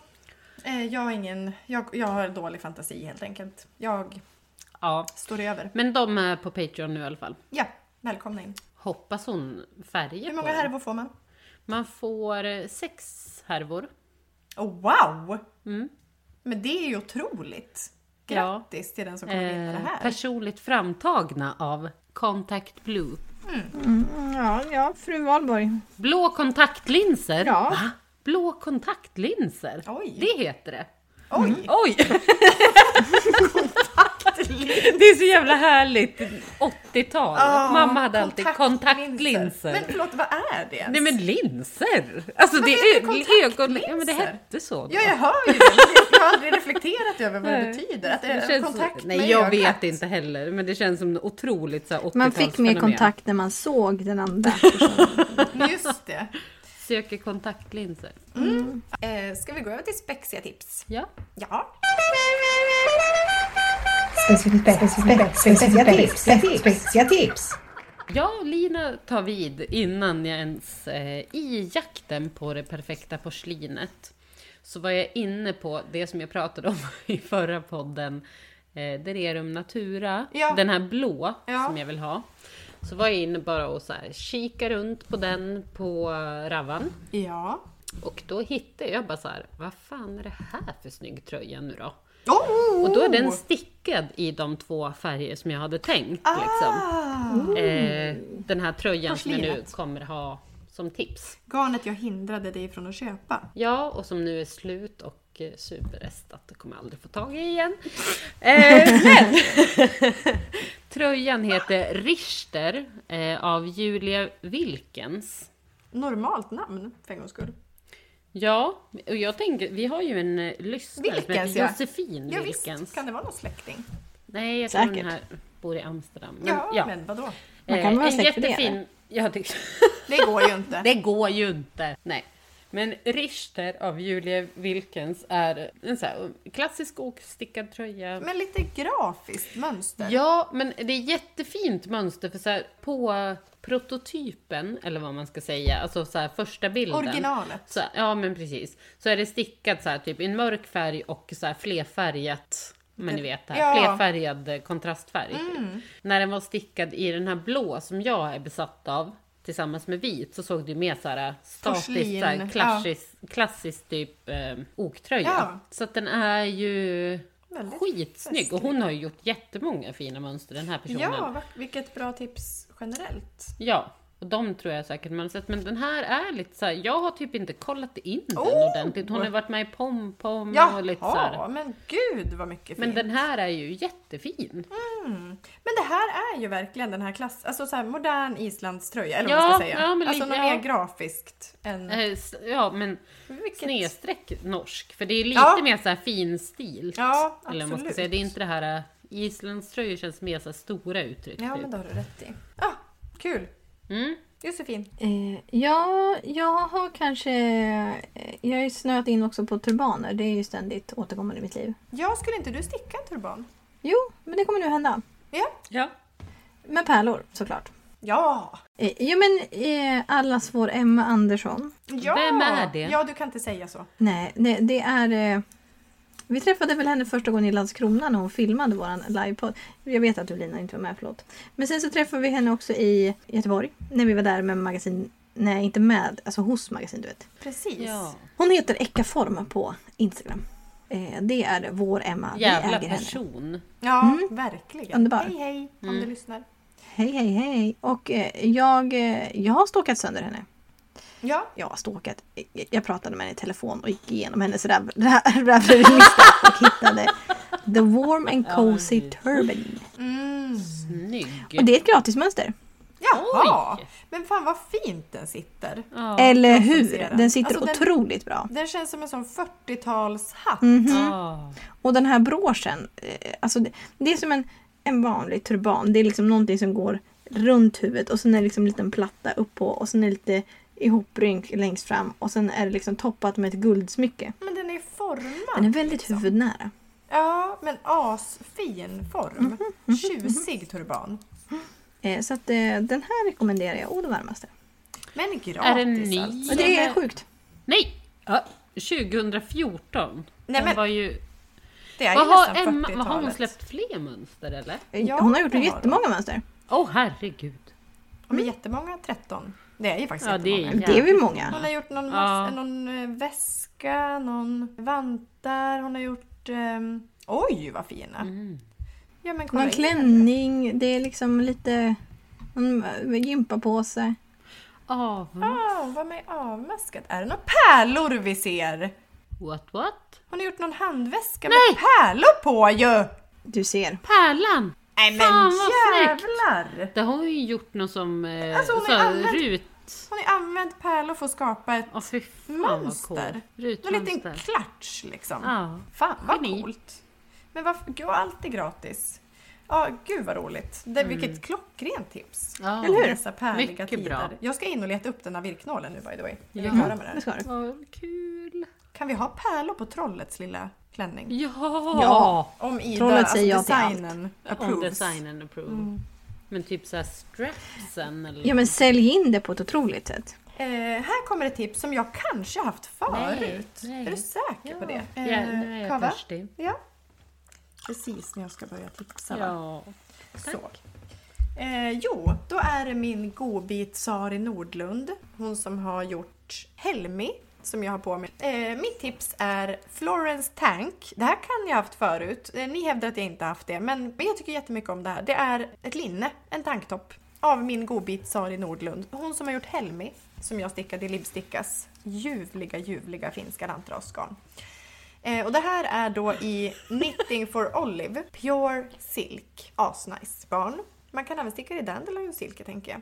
[SPEAKER 1] Eh, Jag har ingen, jag, jag har dålig fantasi helt enkelt. Jag
[SPEAKER 2] Ja.
[SPEAKER 1] står över.
[SPEAKER 2] Men de är på Patreon nu i alla fall.
[SPEAKER 1] Ja, välkomna in.
[SPEAKER 2] Hoppas hon färger
[SPEAKER 1] Hur
[SPEAKER 2] på
[SPEAKER 1] många
[SPEAKER 2] den.
[SPEAKER 1] härvor får man?
[SPEAKER 2] Man får eh, sex härvor.
[SPEAKER 1] Oh, wow!
[SPEAKER 2] Mm.
[SPEAKER 1] Men det är ju otroligt.
[SPEAKER 2] Ja.
[SPEAKER 1] Grattis till den som kommer vinna det
[SPEAKER 2] Eh,
[SPEAKER 1] här.
[SPEAKER 2] personligt framtagna av Contact Blue.
[SPEAKER 3] Mm, ja, ja, fru Valborg.
[SPEAKER 2] Blå kontaktlinser.
[SPEAKER 3] Ja.
[SPEAKER 2] Va? Blå kontaktlinser.
[SPEAKER 1] Oj.
[SPEAKER 2] Det heter det.
[SPEAKER 1] Oj!
[SPEAKER 2] Oj! det är så jävla härligt. 80-tal.
[SPEAKER 1] Ah,
[SPEAKER 2] Mamma hade alltid kontaktlinser.
[SPEAKER 1] Men förlåt, vad är det ens?
[SPEAKER 2] Nej men linser! Alltså det
[SPEAKER 1] heter
[SPEAKER 2] är
[SPEAKER 1] kontaktlinser?
[SPEAKER 2] ögon... Ja men det hette så då.
[SPEAKER 1] Ja, jag hör ju det. men Jag har aldrig reflekterat över vad det
[SPEAKER 2] Nej.
[SPEAKER 1] betyder. Att det
[SPEAKER 2] Det
[SPEAKER 1] är
[SPEAKER 2] känns-
[SPEAKER 1] kontakt med
[SPEAKER 2] Nej jag
[SPEAKER 1] ögat.
[SPEAKER 2] vet inte heller men det känns som en otroligt så här 80-talsfenomen.
[SPEAKER 3] Man fick mer kontakt när man såg den andra.
[SPEAKER 1] Just det.
[SPEAKER 2] Söker kontaktlinser.
[SPEAKER 1] Eh, ska vi gå över till spexiga tips?
[SPEAKER 2] Ja.
[SPEAKER 1] Ja.
[SPEAKER 4] Specifica tips, specifica tips.
[SPEAKER 2] Ja, Lina tar vid innan jag ens eh, i jakten på det perfekta porslinet så var jag inne på det som jag pratade om i förra podden, eh, Dererum Natura,
[SPEAKER 1] Ja.
[SPEAKER 2] den här blå
[SPEAKER 1] Ja.
[SPEAKER 2] som jag vill ha. Så var jag inne bara och så här, kika runt på den på eh, Ravan.
[SPEAKER 1] Ja.
[SPEAKER 2] Och då hittade jag bara så här, vad fan är det här för snygg tröja nu då?
[SPEAKER 1] Oh!
[SPEAKER 2] Och då är den stickad i de två färger som jag hade tänkt. Liksom.
[SPEAKER 1] Ah!
[SPEAKER 2] Eh, den här tröjan som jag nu
[SPEAKER 1] Porslinet.
[SPEAKER 2] kommer ha som tips.
[SPEAKER 1] Garnet jag hindrade dig från att köpa.
[SPEAKER 2] Ja, och som nu är slut och eh, superrestat. Det kommer jag aldrig få tag i igen. Eh, men! Tröjan heter Richter eh, av Julia Wilkens.
[SPEAKER 1] Normalt namn för en gångs skull.
[SPEAKER 2] Ja, och jag tänker, vi har ju en eh, lyssnare som
[SPEAKER 1] Wilkens,
[SPEAKER 2] heter
[SPEAKER 1] ja.
[SPEAKER 2] Josefin
[SPEAKER 1] Ja,
[SPEAKER 2] Wilkens.
[SPEAKER 1] visst, kan det vara någon släkting?
[SPEAKER 2] Nej, jag tror den
[SPEAKER 3] Säkert.
[SPEAKER 2] här bor i Amsterdam. Men,
[SPEAKER 1] Ja,
[SPEAKER 2] ja,
[SPEAKER 1] men vadå?
[SPEAKER 3] Man kan
[SPEAKER 2] Eh,
[SPEAKER 3] vara
[SPEAKER 2] en
[SPEAKER 3] säker på det,
[SPEAKER 2] jättefin... Jag tyckte...
[SPEAKER 1] Det går ju inte.
[SPEAKER 2] Det går ju inte. Nej. Men Richter av Julia Wilkens är en så här klassisk åkstickad tröja.
[SPEAKER 1] Men lite grafiskt mönster.
[SPEAKER 2] Ja, men det är jättefint mönster för så här, på prototypen, eller vad man ska säga, alltså så här, första bilden.
[SPEAKER 1] Originalet.
[SPEAKER 2] Så, ja, men precis. Så är det stickat så här, typ i en mörk färg och så här flerfärgat, men ni vet det här,
[SPEAKER 1] Ja. Mm.
[SPEAKER 2] flerfärgad kontrastfärg. Typ. När den var stickad i den här blå som jag är besatt av, tillsammans med vit så såg det ju mer såhär statiskt,
[SPEAKER 1] Porslin,
[SPEAKER 2] såhär, klassiskt, klassiskt typ eh, oktröja.
[SPEAKER 1] Ja.
[SPEAKER 2] Så att den är ju
[SPEAKER 1] Väldigt
[SPEAKER 2] skitsnygg och hon har ju gjort jättemånga fina mönster den här personen.
[SPEAKER 1] Ja, va- vilket bra tips generellt.
[SPEAKER 2] Ja, och de tror jag säkert man har sett. Men den här är lite så här, jag har typ inte kollat in den
[SPEAKER 1] Oh!
[SPEAKER 2] ordentligt. Hon har varit med i Pom Pom och lite så här.
[SPEAKER 1] Jaha, men gud vad mycket fint.
[SPEAKER 2] Men den här är ju jättefin.
[SPEAKER 1] Men det här är ju verkligen den här klass, alltså så här modern islandströja eller
[SPEAKER 2] Ja,
[SPEAKER 1] vad man ska säga.
[SPEAKER 2] ja, men
[SPEAKER 1] alltså
[SPEAKER 2] lite-
[SPEAKER 1] något
[SPEAKER 2] ja.
[SPEAKER 1] mer grafiskt än...
[SPEAKER 2] Eh, s- Ja, men
[SPEAKER 1] Mm. Vilket-
[SPEAKER 2] snedstreck norsk. För det är lite
[SPEAKER 1] Ja.
[SPEAKER 2] mer så här finstilt.
[SPEAKER 1] Ja,
[SPEAKER 2] eller vad man ska
[SPEAKER 1] absolut.
[SPEAKER 2] säga. Det är inte det här... eh, Islandströjor känns mer så här stora uttryck.
[SPEAKER 1] Ja,
[SPEAKER 2] typ.
[SPEAKER 1] men det har du rätt i. Ah, kul!
[SPEAKER 2] mm.
[SPEAKER 1] Josefin.
[SPEAKER 3] Eh, ja, jag har kanske... eh, Jag har ju snöat in också på turbaner. Det är ju ständigt återkommande i mitt liv.
[SPEAKER 1] Ja, skulle inte du sticka en turban?
[SPEAKER 3] Jo, men det kommer nu hända.
[SPEAKER 1] Ja.
[SPEAKER 2] ja.
[SPEAKER 3] Med pärlor såklart.
[SPEAKER 1] Ja!
[SPEAKER 3] Eh, jo men eh, allas vår Emma Andersson.
[SPEAKER 1] ja!
[SPEAKER 2] Vem är det?
[SPEAKER 1] Ja, du kan inte säga så.
[SPEAKER 3] Nej, nej det är... Eh, vi träffade väl henne första gången i Landskrona när hon filmade våran livepodd. Jag vet att du Lina inte var med, förlåt. Men sen så träffade vi henne också i Göteborg. När vi var där med magasin... Nej, inte med. Alltså hos magasin, du vet.
[SPEAKER 1] Precis.
[SPEAKER 2] ja.
[SPEAKER 3] Hon heter Eckaform på Instagram. Eh, det är vår Emma. vi
[SPEAKER 2] Jävla
[SPEAKER 3] äger henne.
[SPEAKER 2] person.
[SPEAKER 1] Ja,
[SPEAKER 3] Mm.
[SPEAKER 1] verkligen.
[SPEAKER 3] Underbar.
[SPEAKER 1] Hej, hej, om
[SPEAKER 2] Mm.
[SPEAKER 1] du lyssnar.
[SPEAKER 3] Hej, hej, hej. Och eh, jag, eh, jag har stalkat sönder henne.
[SPEAKER 1] Ja,
[SPEAKER 3] Jag har stalkat. Jag- Jag pratade med henne i telefon och gick igenom hennes rabb- rabb- rabblista och hittade The Warm and Cozy
[SPEAKER 2] Ja,
[SPEAKER 3] Turban.
[SPEAKER 1] mm.
[SPEAKER 2] Snygg.
[SPEAKER 3] Och det är ett gratismönster.
[SPEAKER 1] Jaha!
[SPEAKER 2] Oj.
[SPEAKER 1] Men fan vad fint den sitter.
[SPEAKER 2] Ja.
[SPEAKER 3] Eller
[SPEAKER 1] jag som
[SPEAKER 3] hur?
[SPEAKER 1] ser den.
[SPEAKER 3] Den sitter
[SPEAKER 1] Alltså, den-
[SPEAKER 3] otroligt bra.
[SPEAKER 1] Den känns som en sån 40-talshatt.
[SPEAKER 3] Mm.
[SPEAKER 2] Ja.
[SPEAKER 3] Och den här broschen, eh, alltså det, det är som en, en vanlig turban. Det är liksom någonting som går runt huvudet och sen är det liksom en liten platta upp på och sen är det lite ihoprynk längst fram och sen är det liksom toppat med ett guldsmycke.
[SPEAKER 1] Men den är formad.
[SPEAKER 3] Den är väldigt huvudnära.
[SPEAKER 1] Ja, men asfin
[SPEAKER 3] Mm,
[SPEAKER 1] form. Tjusig turban.
[SPEAKER 3] Eh, så att, eh, den här rekommenderar jag å det varmaste.
[SPEAKER 1] Men gratis
[SPEAKER 2] Är den ny?
[SPEAKER 1] alltså.
[SPEAKER 3] Och det är
[SPEAKER 2] men-
[SPEAKER 3] sjukt.
[SPEAKER 2] Nej! 2014.
[SPEAKER 1] Nej,
[SPEAKER 2] Hon
[SPEAKER 1] men-
[SPEAKER 2] var ju...
[SPEAKER 1] Det är
[SPEAKER 2] Vad
[SPEAKER 1] ju
[SPEAKER 2] har,
[SPEAKER 1] nästan
[SPEAKER 2] Emma, vad har hon
[SPEAKER 1] 40-talet.
[SPEAKER 2] släppt fler mönster eller?
[SPEAKER 1] Ja,
[SPEAKER 3] hon har gjort
[SPEAKER 1] det har
[SPEAKER 3] jättemånga mönster.
[SPEAKER 2] Åh oh, herregud.
[SPEAKER 1] Ja, men jättemånga 13. Det är ju faktiskt
[SPEAKER 2] Ja, det är
[SPEAKER 1] jättemånga.
[SPEAKER 2] ju-
[SPEAKER 3] Det är väl
[SPEAKER 1] Hon
[SPEAKER 3] många.
[SPEAKER 1] har gjort någon,
[SPEAKER 2] Ja.
[SPEAKER 1] mass- någon eh, väska, någon vantar, hon har gjort... ehm, oj, vad fina!
[SPEAKER 2] Mm.
[SPEAKER 1] Ja, men kolla
[SPEAKER 3] Någon
[SPEAKER 1] in.
[SPEAKER 3] klänning, det är liksom lite... Någon eh, gympapåse.
[SPEAKER 2] Avundsjuk.
[SPEAKER 1] Ah, vad mig avmaskat. Är det några pärlor vi ser?
[SPEAKER 2] What what?
[SPEAKER 1] Hon har gjort någon handväska
[SPEAKER 2] Nej!
[SPEAKER 1] med pärlor på ju!
[SPEAKER 3] Du ser.
[SPEAKER 2] Pärlan!
[SPEAKER 1] Nej men
[SPEAKER 2] Fan, vad snyggt!
[SPEAKER 1] jävlar!
[SPEAKER 2] Det har hon ju gjort något som eh,
[SPEAKER 1] Alltså, hon
[SPEAKER 2] så,
[SPEAKER 1] har använt-
[SPEAKER 2] rut...
[SPEAKER 1] Hon har använt pärlor för att skapa ett
[SPEAKER 2] Åh fy fan vad
[SPEAKER 1] mönster.
[SPEAKER 2] coolt.
[SPEAKER 1] En liten
[SPEAKER 2] Rutmönster.
[SPEAKER 1] klatsch liksom.
[SPEAKER 2] Ja.
[SPEAKER 1] Fan vad
[SPEAKER 2] Geni.
[SPEAKER 1] coolt! Men varför, gud, allt är gratis. Ja, gud vad roligt. Det,
[SPEAKER 2] Mm.
[SPEAKER 1] Vilket klockrent tips.
[SPEAKER 2] Ja.
[SPEAKER 1] Eller hur? Dessa pärliga
[SPEAKER 2] Mycket
[SPEAKER 1] tider.
[SPEAKER 2] bra.
[SPEAKER 1] Jag ska in och leta upp den här virknålen nu by the way. Är vi
[SPEAKER 2] Ja.
[SPEAKER 1] klara med det
[SPEAKER 3] Det
[SPEAKER 1] här?
[SPEAKER 3] ska du.
[SPEAKER 2] Vad kul.
[SPEAKER 1] Kan vi ha pärlor på trollets lilla klänning?
[SPEAKER 2] Ja!
[SPEAKER 3] Ja.
[SPEAKER 1] Om Ida,
[SPEAKER 3] Trollet
[SPEAKER 1] alltså
[SPEAKER 3] säger ja till allt.
[SPEAKER 1] designen,
[SPEAKER 2] Om
[SPEAKER 1] approves. Mm.
[SPEAKER 2] designen approve. Men typ såhär strapsen eller...
[SPEAKER 3] Ja men sälj in det på ett otroligt sätt.
[SPEAKER 1] Eh, här kommer ett tips som jag kanske haft förut.
[SPEAKER 2] Nej, nej.
[SPEAKER 1] Är du säker på det?
[SPEAKER 2] Ja,
[SPEAKER 1] Eh,
[SPEAKER 2] nu är jag
[SPEAKER 1] Kava?
[SPEAKER 2] törstig.
[SPEAKER 1] Ja. Precis när jag ska börja tipsa. va?
[SPEAKER 2] Ja.
[SPEAKER 1] Så. Eh, jo, då är det min godbit Sari Nordlund. Hon som har gjort Helmi, som jag har på mig. Eh, mitt tips är Florence Tank. Det här kan jag ha haft förut. Eh, ni hävdar att jag inte har haft det, men, men jag tycker jättemycket om det här. Det är ett linne, en tanktopp, av min godbit Sari Nordlund. Hon som har gjort Helmi, som jag stickade i Livstickas ljuvliga, ljuvliga finska lantrasgarn. Eh, och det här är då i Knitting for Olive, Pure Silk. Asnice barn. Man kan även sticka det i Dandelion Silke tänker jag.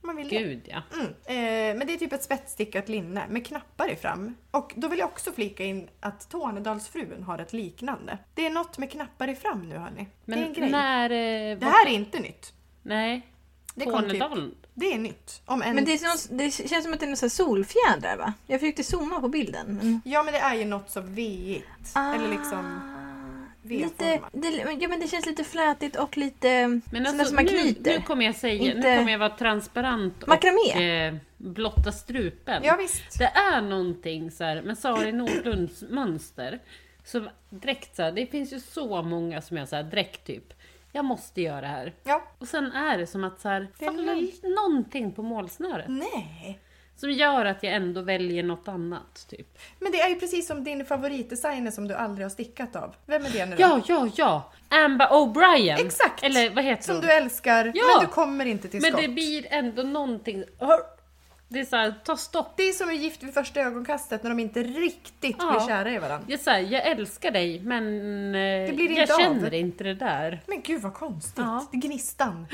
[SPEAKER 1] Om man vill det.
[SPEAKER 2] Gud ja.
[SPEAKER 1] Mm. Eh, men det är typ ett spetsstickat linne med knappar i fram. Och då vill jag också flika in att Tornedalsfrun har ett liknande. Det är något med knappar i fram nu hörni. det är en
[SPEAKER 2] Men
[SPEAKER 1] grej.
[SPEAKER 2] när... Eh,
[SPEAKER 1] Det
[SPEAKER 2] vad-
[SPEAKER 1] här är inte nytt.
[SPEAKER 2] Nej.
[SPEAKER 1] Det kom typ-
[SPEAKER 2] Tornedalen.
[SPEAKER 1] Det är nytt. Om en...
[SPEAKER 3] Men det, är någon, det känns som att det är någon sån här solfjädrar va? Jag försökte zooma på bilden. Men...
[SPEAKER 1] Ja men det är ju något så veigt. Eller liksom
[SPEAKER 2] Ah.
[SPEAKER 3] Ah, Lite,
[SPEAKER 1] V-format.
[SPEAKER 3] det, ja, men det känns lite flätigt och lite
[SPEAKER 2] Men
[SPEAKER 3] sådär
[SPEAKER 2] alltså,
[SPEAKER 3] som man
[SPEAKER 2] nu,
[SPEAKER 3] knyter.
[SPEAKER 2] nu kommer jag säga, nu
[SPEAKER 3] Inte-
[SPEAKER 2] kommer jag vara transparent och
[SPEAKER 3] Makramé.
[SPEAKER 2] eh, blotta strupen.
[SPEAKER 1] Ja, visst.
[SPEAKER 2] Det är någonting så här med Sari Nordlunds mönster. Som direkt så här, det finns ju så många som jag så här direkt typ jag måste göra det här.
[SPEAKER 1] Ja.
[SPEAKER 2] Och sen är det som att så här,
[SPEAKER 1] Det är Mm.
[SPEAKER 2] faller någonting på målsnöret.
[SPEAKER 1] Nej.
[SPEAKER 2] Som gör att jag ändå väljer något annat, typ.
[SPEAKER 1] Men det är ju precis som din favoritdesigner som du aldrig har stickat av. Vem är det nu då?
[SPEAKER 2] Ja, ja, ja! Amber O'Brien!
[SPEAKER 1] Exakt.
[SPEAKER 2] Eller vad heter
[SPEAKER 1] Som
[SPEAKER 2] hon?
[SPEAKER 1] du älskar,
[SPEAKER 2] Ja.
[SPEAKER 1] men du kommer inte till
[SPEAKER 2] Men
[SPEAKER 1] skott.
[SPEAKER 2] det blir ändå någonting... Hör! Det är såhär, ta stopp.
[SPEAKER 1] Det är som i Gift vid första ögonkastet när de inte riktigt
[SPEAKER 2] Ja.
[SPEAKER 1] blir kära i varandra.
[SPEAKER 2] Jag, säger, jag älskar dig, men det
[SPEAKER 1] blir
[SPEAKER 2] jag
[SPEAKER 1] inte av.
[SPEAKER 2] känner inte det där.
[SPEAKER 1] Men gud vad konstigt!
[SPEAKER 2] Ja.
[SPEAKER 1] Det är Gnistan.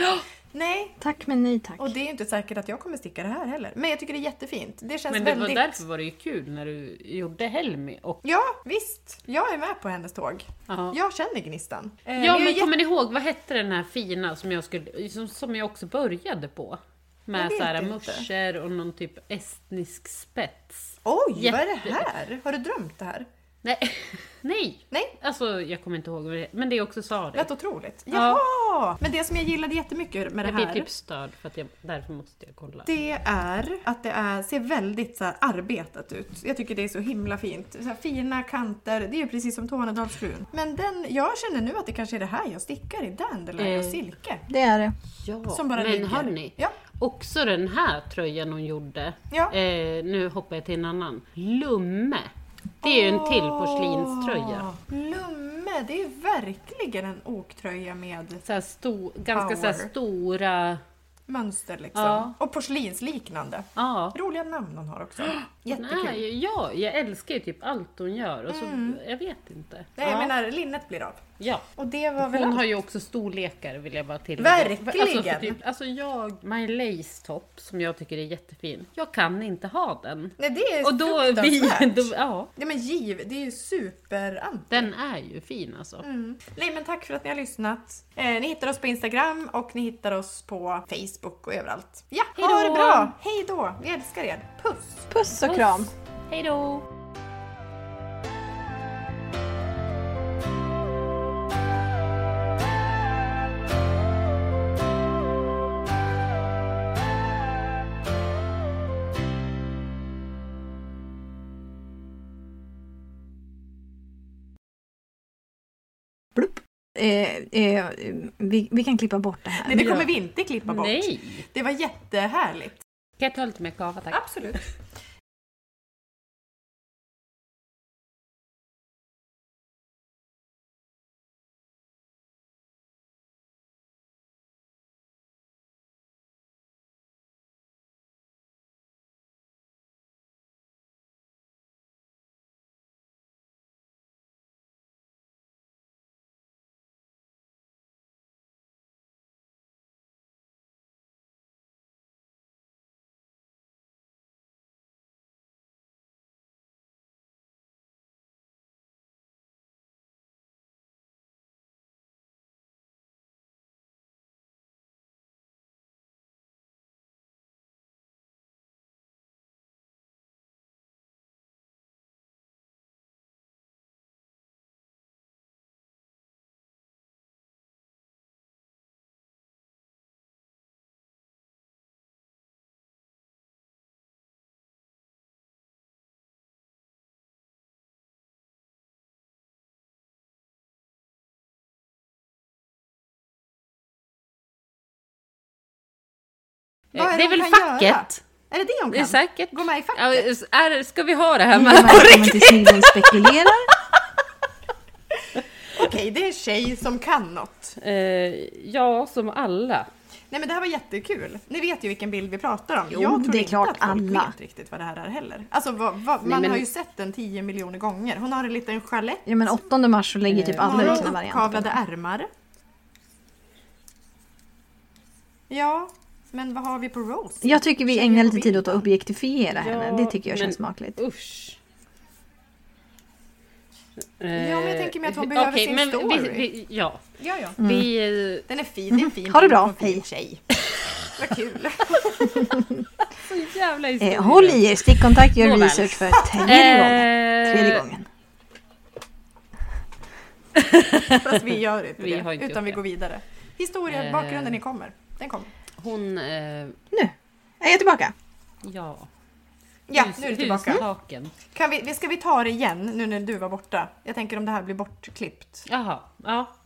[SPEAKER 1] Nej,
[SPEAKER 3] Tack men nej tack.
[SPEAKER 1] och det är ju inte säkert att jag kommer sticka det här heller. Men jag tycker det är jättefint. Det känns
[SPEAKER 2] Men det var
[SPEAKER 1] väldigt...
[SPEAKER 2] därför var det ju kul när du gjorde Helmi. Och,
[SPEAKER 1] Ja, visst. Jag är med på hennes tåg.
[SPEAKER 2] ja.
[SPEAKER 1] Jag känner Gnistan. Eh,
[SPEAKER 2] Ja
[SPEAKER 1] jag är
[SPEAKER 2] men
[SPEAKER 1] jätte-
[SPEAKER 2] kommer ni ihåg, vad hette den här fina som jag, skulle, som, som jag också började på?
[SPEAKER 1] Jag
[SPEAKER 2] Med
[SPEAKER 1] vet
[SPEAKER 2] såhär
[SPEAKER 1] inte.
[SPEAKER 2] muscher och någon typ estnisk spets.
[SPEAKER 1] Oj, vad är det
[SPEAKER 2] jätte-
[SPEAKER 1] här? Har du drömt det här?
[SPEAKER 2] Nej! Nej!
[SPEAKER 1] Nej.
[SPEAKER 2] Alltså jag kommer inte ihåg vad det men det är också Sari.
[SPEAKER 1] Lät otroligt. Jaha! Men det som jag gillade jättemycket med det
[SPEAKER 2] Jag
[SPEAKER 1] här...
[SPEAKER 2] blir typ störd för att jag, därför måste jag kolla.
[SPEAKER 1] Det är att det är, ser väldigt så här arbetat ut. Jag tycker det är så himla fint. Så här fina kanter, det är ju precis som Tornedalsfrun. Men den, jag känner nu att det kanske är det här jag stickar i Dandelion och
[SPEAKER 2] Eh.
[SPEAKER 1] silke.
[SPEAKER 3] Det är det.
[SPEAKER 2] Ja,
[SPEAKER 1] Som bara
[SPEAKER 2] men
[SPEAKER 1] ligger.
[SPEAKER 2] hörni.
[SPEAKER 1] Ja.
[SPEAKER 2] Också den här tröjan hon gjorde.
[SPEAKER 1] Ja.
[SPEAKER 2] Eh, nu hoppar jag till en annan. Lumme. Det är ju en till porslinströja.
[SPEAKER 1] Åh, Lumme, det är ju verkligen en oktröja med
[SPEAKER 2] Så här sto, ganska så här
[SPEAKER 1] Power.
[SPEAKER 2] stora...
[SPEAKER 1] mönster liksom.
[SPEAKER 2] Ja.
[SPEAKER 1] Och porslinsliknande.
[SPEAKER 2] Ja.
[SPEAKER 1] Roliga namn hon har också. Jättekul. Mm. Nej,
[SPEAKER 2] Nej, ja, jag älskar ju typ allt hon gör. Och så, Jag vet inte.
[SPEAKER 1] jag
[SPEAKER 2] ja.
[SPEAKER 1] menar linnet blir av.
[SPEAKER 2] ja.
[SPEAKER 1] Och det var väl
[SPEAKER 2] Hon
[SPEAKER 1] allt.
[SPEAKER 2] har ju också storlekar vill jag bara tillägga.
[SPEAKER 1] Verkligen!
[SPEAKER 2] Alltså, för typ, alltså jag, my lace top som jag tycker är jättefin, jag kan inte ha den.
[SPEAKER 1] Nej, det är
[SPEAKER 2] Och då, vi,
[SPEAKER 1] fruktansvärt.
[SPEAKER 2] då ja,
[SPEAKER 1] Nej men giv, det är ju superant.
[SPEAKER 2] den är ju fin alltså.
[SPEAKER 1] Mm. Nej men tack för att ni har lyssnat. Eh, ni hittar oss på Instagram och ni hittar oss på Facebook och överallt. Ja,
[SPEAKER 2] Hejdå!
[SPEAKER 1] ha det bra! Hej då! Vi älskar er. Puss!
[SPEAKER 3] Puss och kram.
[SPEAKER 2] Hej då!
[SPEAKER 3] Eh, eh, vi, vi kan klippa bort det här.
[SPEAKER 1] Nej det kommer vi inte klippa bort.
[SPEAKER 2] Nej!
[SPEAKER 1] Det var jättehärligt.
[SPEAKER 2] Kan jag ta lite mer kava tack? Eh,
[SPEAKER 1] Absolut.
[SPEAKER 2] Eh,
[SPEAKER 1] Vad är
[SPEAKER 2] det är
[SPEAKER 1] hon
[SPEAKER 2] väl
[SPEAKER 1] kan göra?
[SPEAKER 2] facket?
[SPEAKER 1] Är det det hon
[SPEAKER 2] Det är
[SPEAKER 1] kan?
[SPEAKER 2] säkert.
[SPEAKER 1] Gå med i facket.
[SPEAKER 2] Ja, eh. är, ska vi ha det här
[SPEAKER 3] Hej och
[SPEAKER 2] med?
[SPEAKER 3] välkommen till Snillen spekulerar.
[SPEAKER 1] Okej, det är en tjej som kan något.
[SPEAKER 2] Eh, ja, som alla.
[SPEAKER 1] Nej men det här var jättekul. Ni vet ju vilken bild vi pratar om.
[SPEAKER 3] Jo,
[SPEAKER 1] Jag tror
[SPEAKER 3] det är
[SPEAKER 1] inte
[SPEAKER 3] klart
[SPEAKER 1] att folk
[SPEAKER 3] alla.
[SPEAKER 1] vet riktigt vad det här är heller. Alltså vad, vad, man
[SPEAKER 2] men-
[SPEAKER 1] har ju sett den 10 miljoner gånger. Hon har en liten chalett.
[SPEAKER 3] Ja men 8 mars så lägger typ
[SPEAKER 1] Hon
[SPEAKER 3] alla ut
[SPEAKER 1] har
[SPEAKER 3] sina
[SPEAKER 1] uppkavlade
[SPEAKER 3] varianter.
[SPEAKER 1] ärmar. Ja, men vad har vi på Rose?
[SPEAKER 3] Jag tycker vi
[SPEAKER 1] Tjejer
[SPEAKER 3] ägnar
[SPEAKER 1] på
[SPEAKER 3] lite tid åt att
[SPEAKER 1] vintern.
[SPEAKER 3] objektifiera
[SPEAKER 2] Ja,
[SPEAKER 3] henne. Det tycker jag
[SPEAKER 2] men-
[SPEAKER 3] känns smakligt.
[SPEAKER 2] Usch. Ja,
[SPEAKER 1] men jag tänker mig att hon behöver sin story.
[SPEAKER 2] Eh, Vi, vi, ja,
[SPEAKER 1] Ja, ja.
[SPEAKER 3] Mm.
[SPEAKER 2] vi... eh,
[SPEAKER 1] Den är fin, det är en fin
[SPEAKER 3] Ha det
[SPEAKER 1] bild
[SPEAKER 3] bra,
[SPEAKER 1] på en fin
[SPEAKER 3] hej.
[SPEAKER 1] tjej. Vad kul.
[SPEAKER 2] Så jävla Eh, historia.
[SPEAKER 3] Eh, håll i er, stickkontakt, gör
[SPEAKER 2] Nåväl.
[SPEAKER 3] research för tredje gången. Tredje gången.
[SPEAKER 1] Fast vi gör inte
[SPEAKER 2] Vi
[SPEAKER 1] det,
[SPEAKER 2] har inte
[SPEAKER 1] utan
[SPEAKER 2] gjort
[SPEAKER 1] vi
[SPEAKER 2] det.
[SPEAKER 1] går vidare. Historia,
[SPEAKER 2] Eh.
[SPEAKER 1] bakgrunden, ni kommer. Den kommer.
[SPEAKER 2] Hon... Eh,
[SPEAKER 3] Nu är jag tillbaka.
[SPEAKER 2] ja.
[SPEAKER 1] Ja,
[SPEAKER 2] hus-
[SPEAKER 1] nu är du tillbaka.
[SPEAKER 2] Hustaken.
[SPEAKER 1] Kan vi, vi- ska vi ta det igen nu när du var borta? Jag tänker om det här blir bortklippt.
[SPEAKER 2] Jaha. Ja.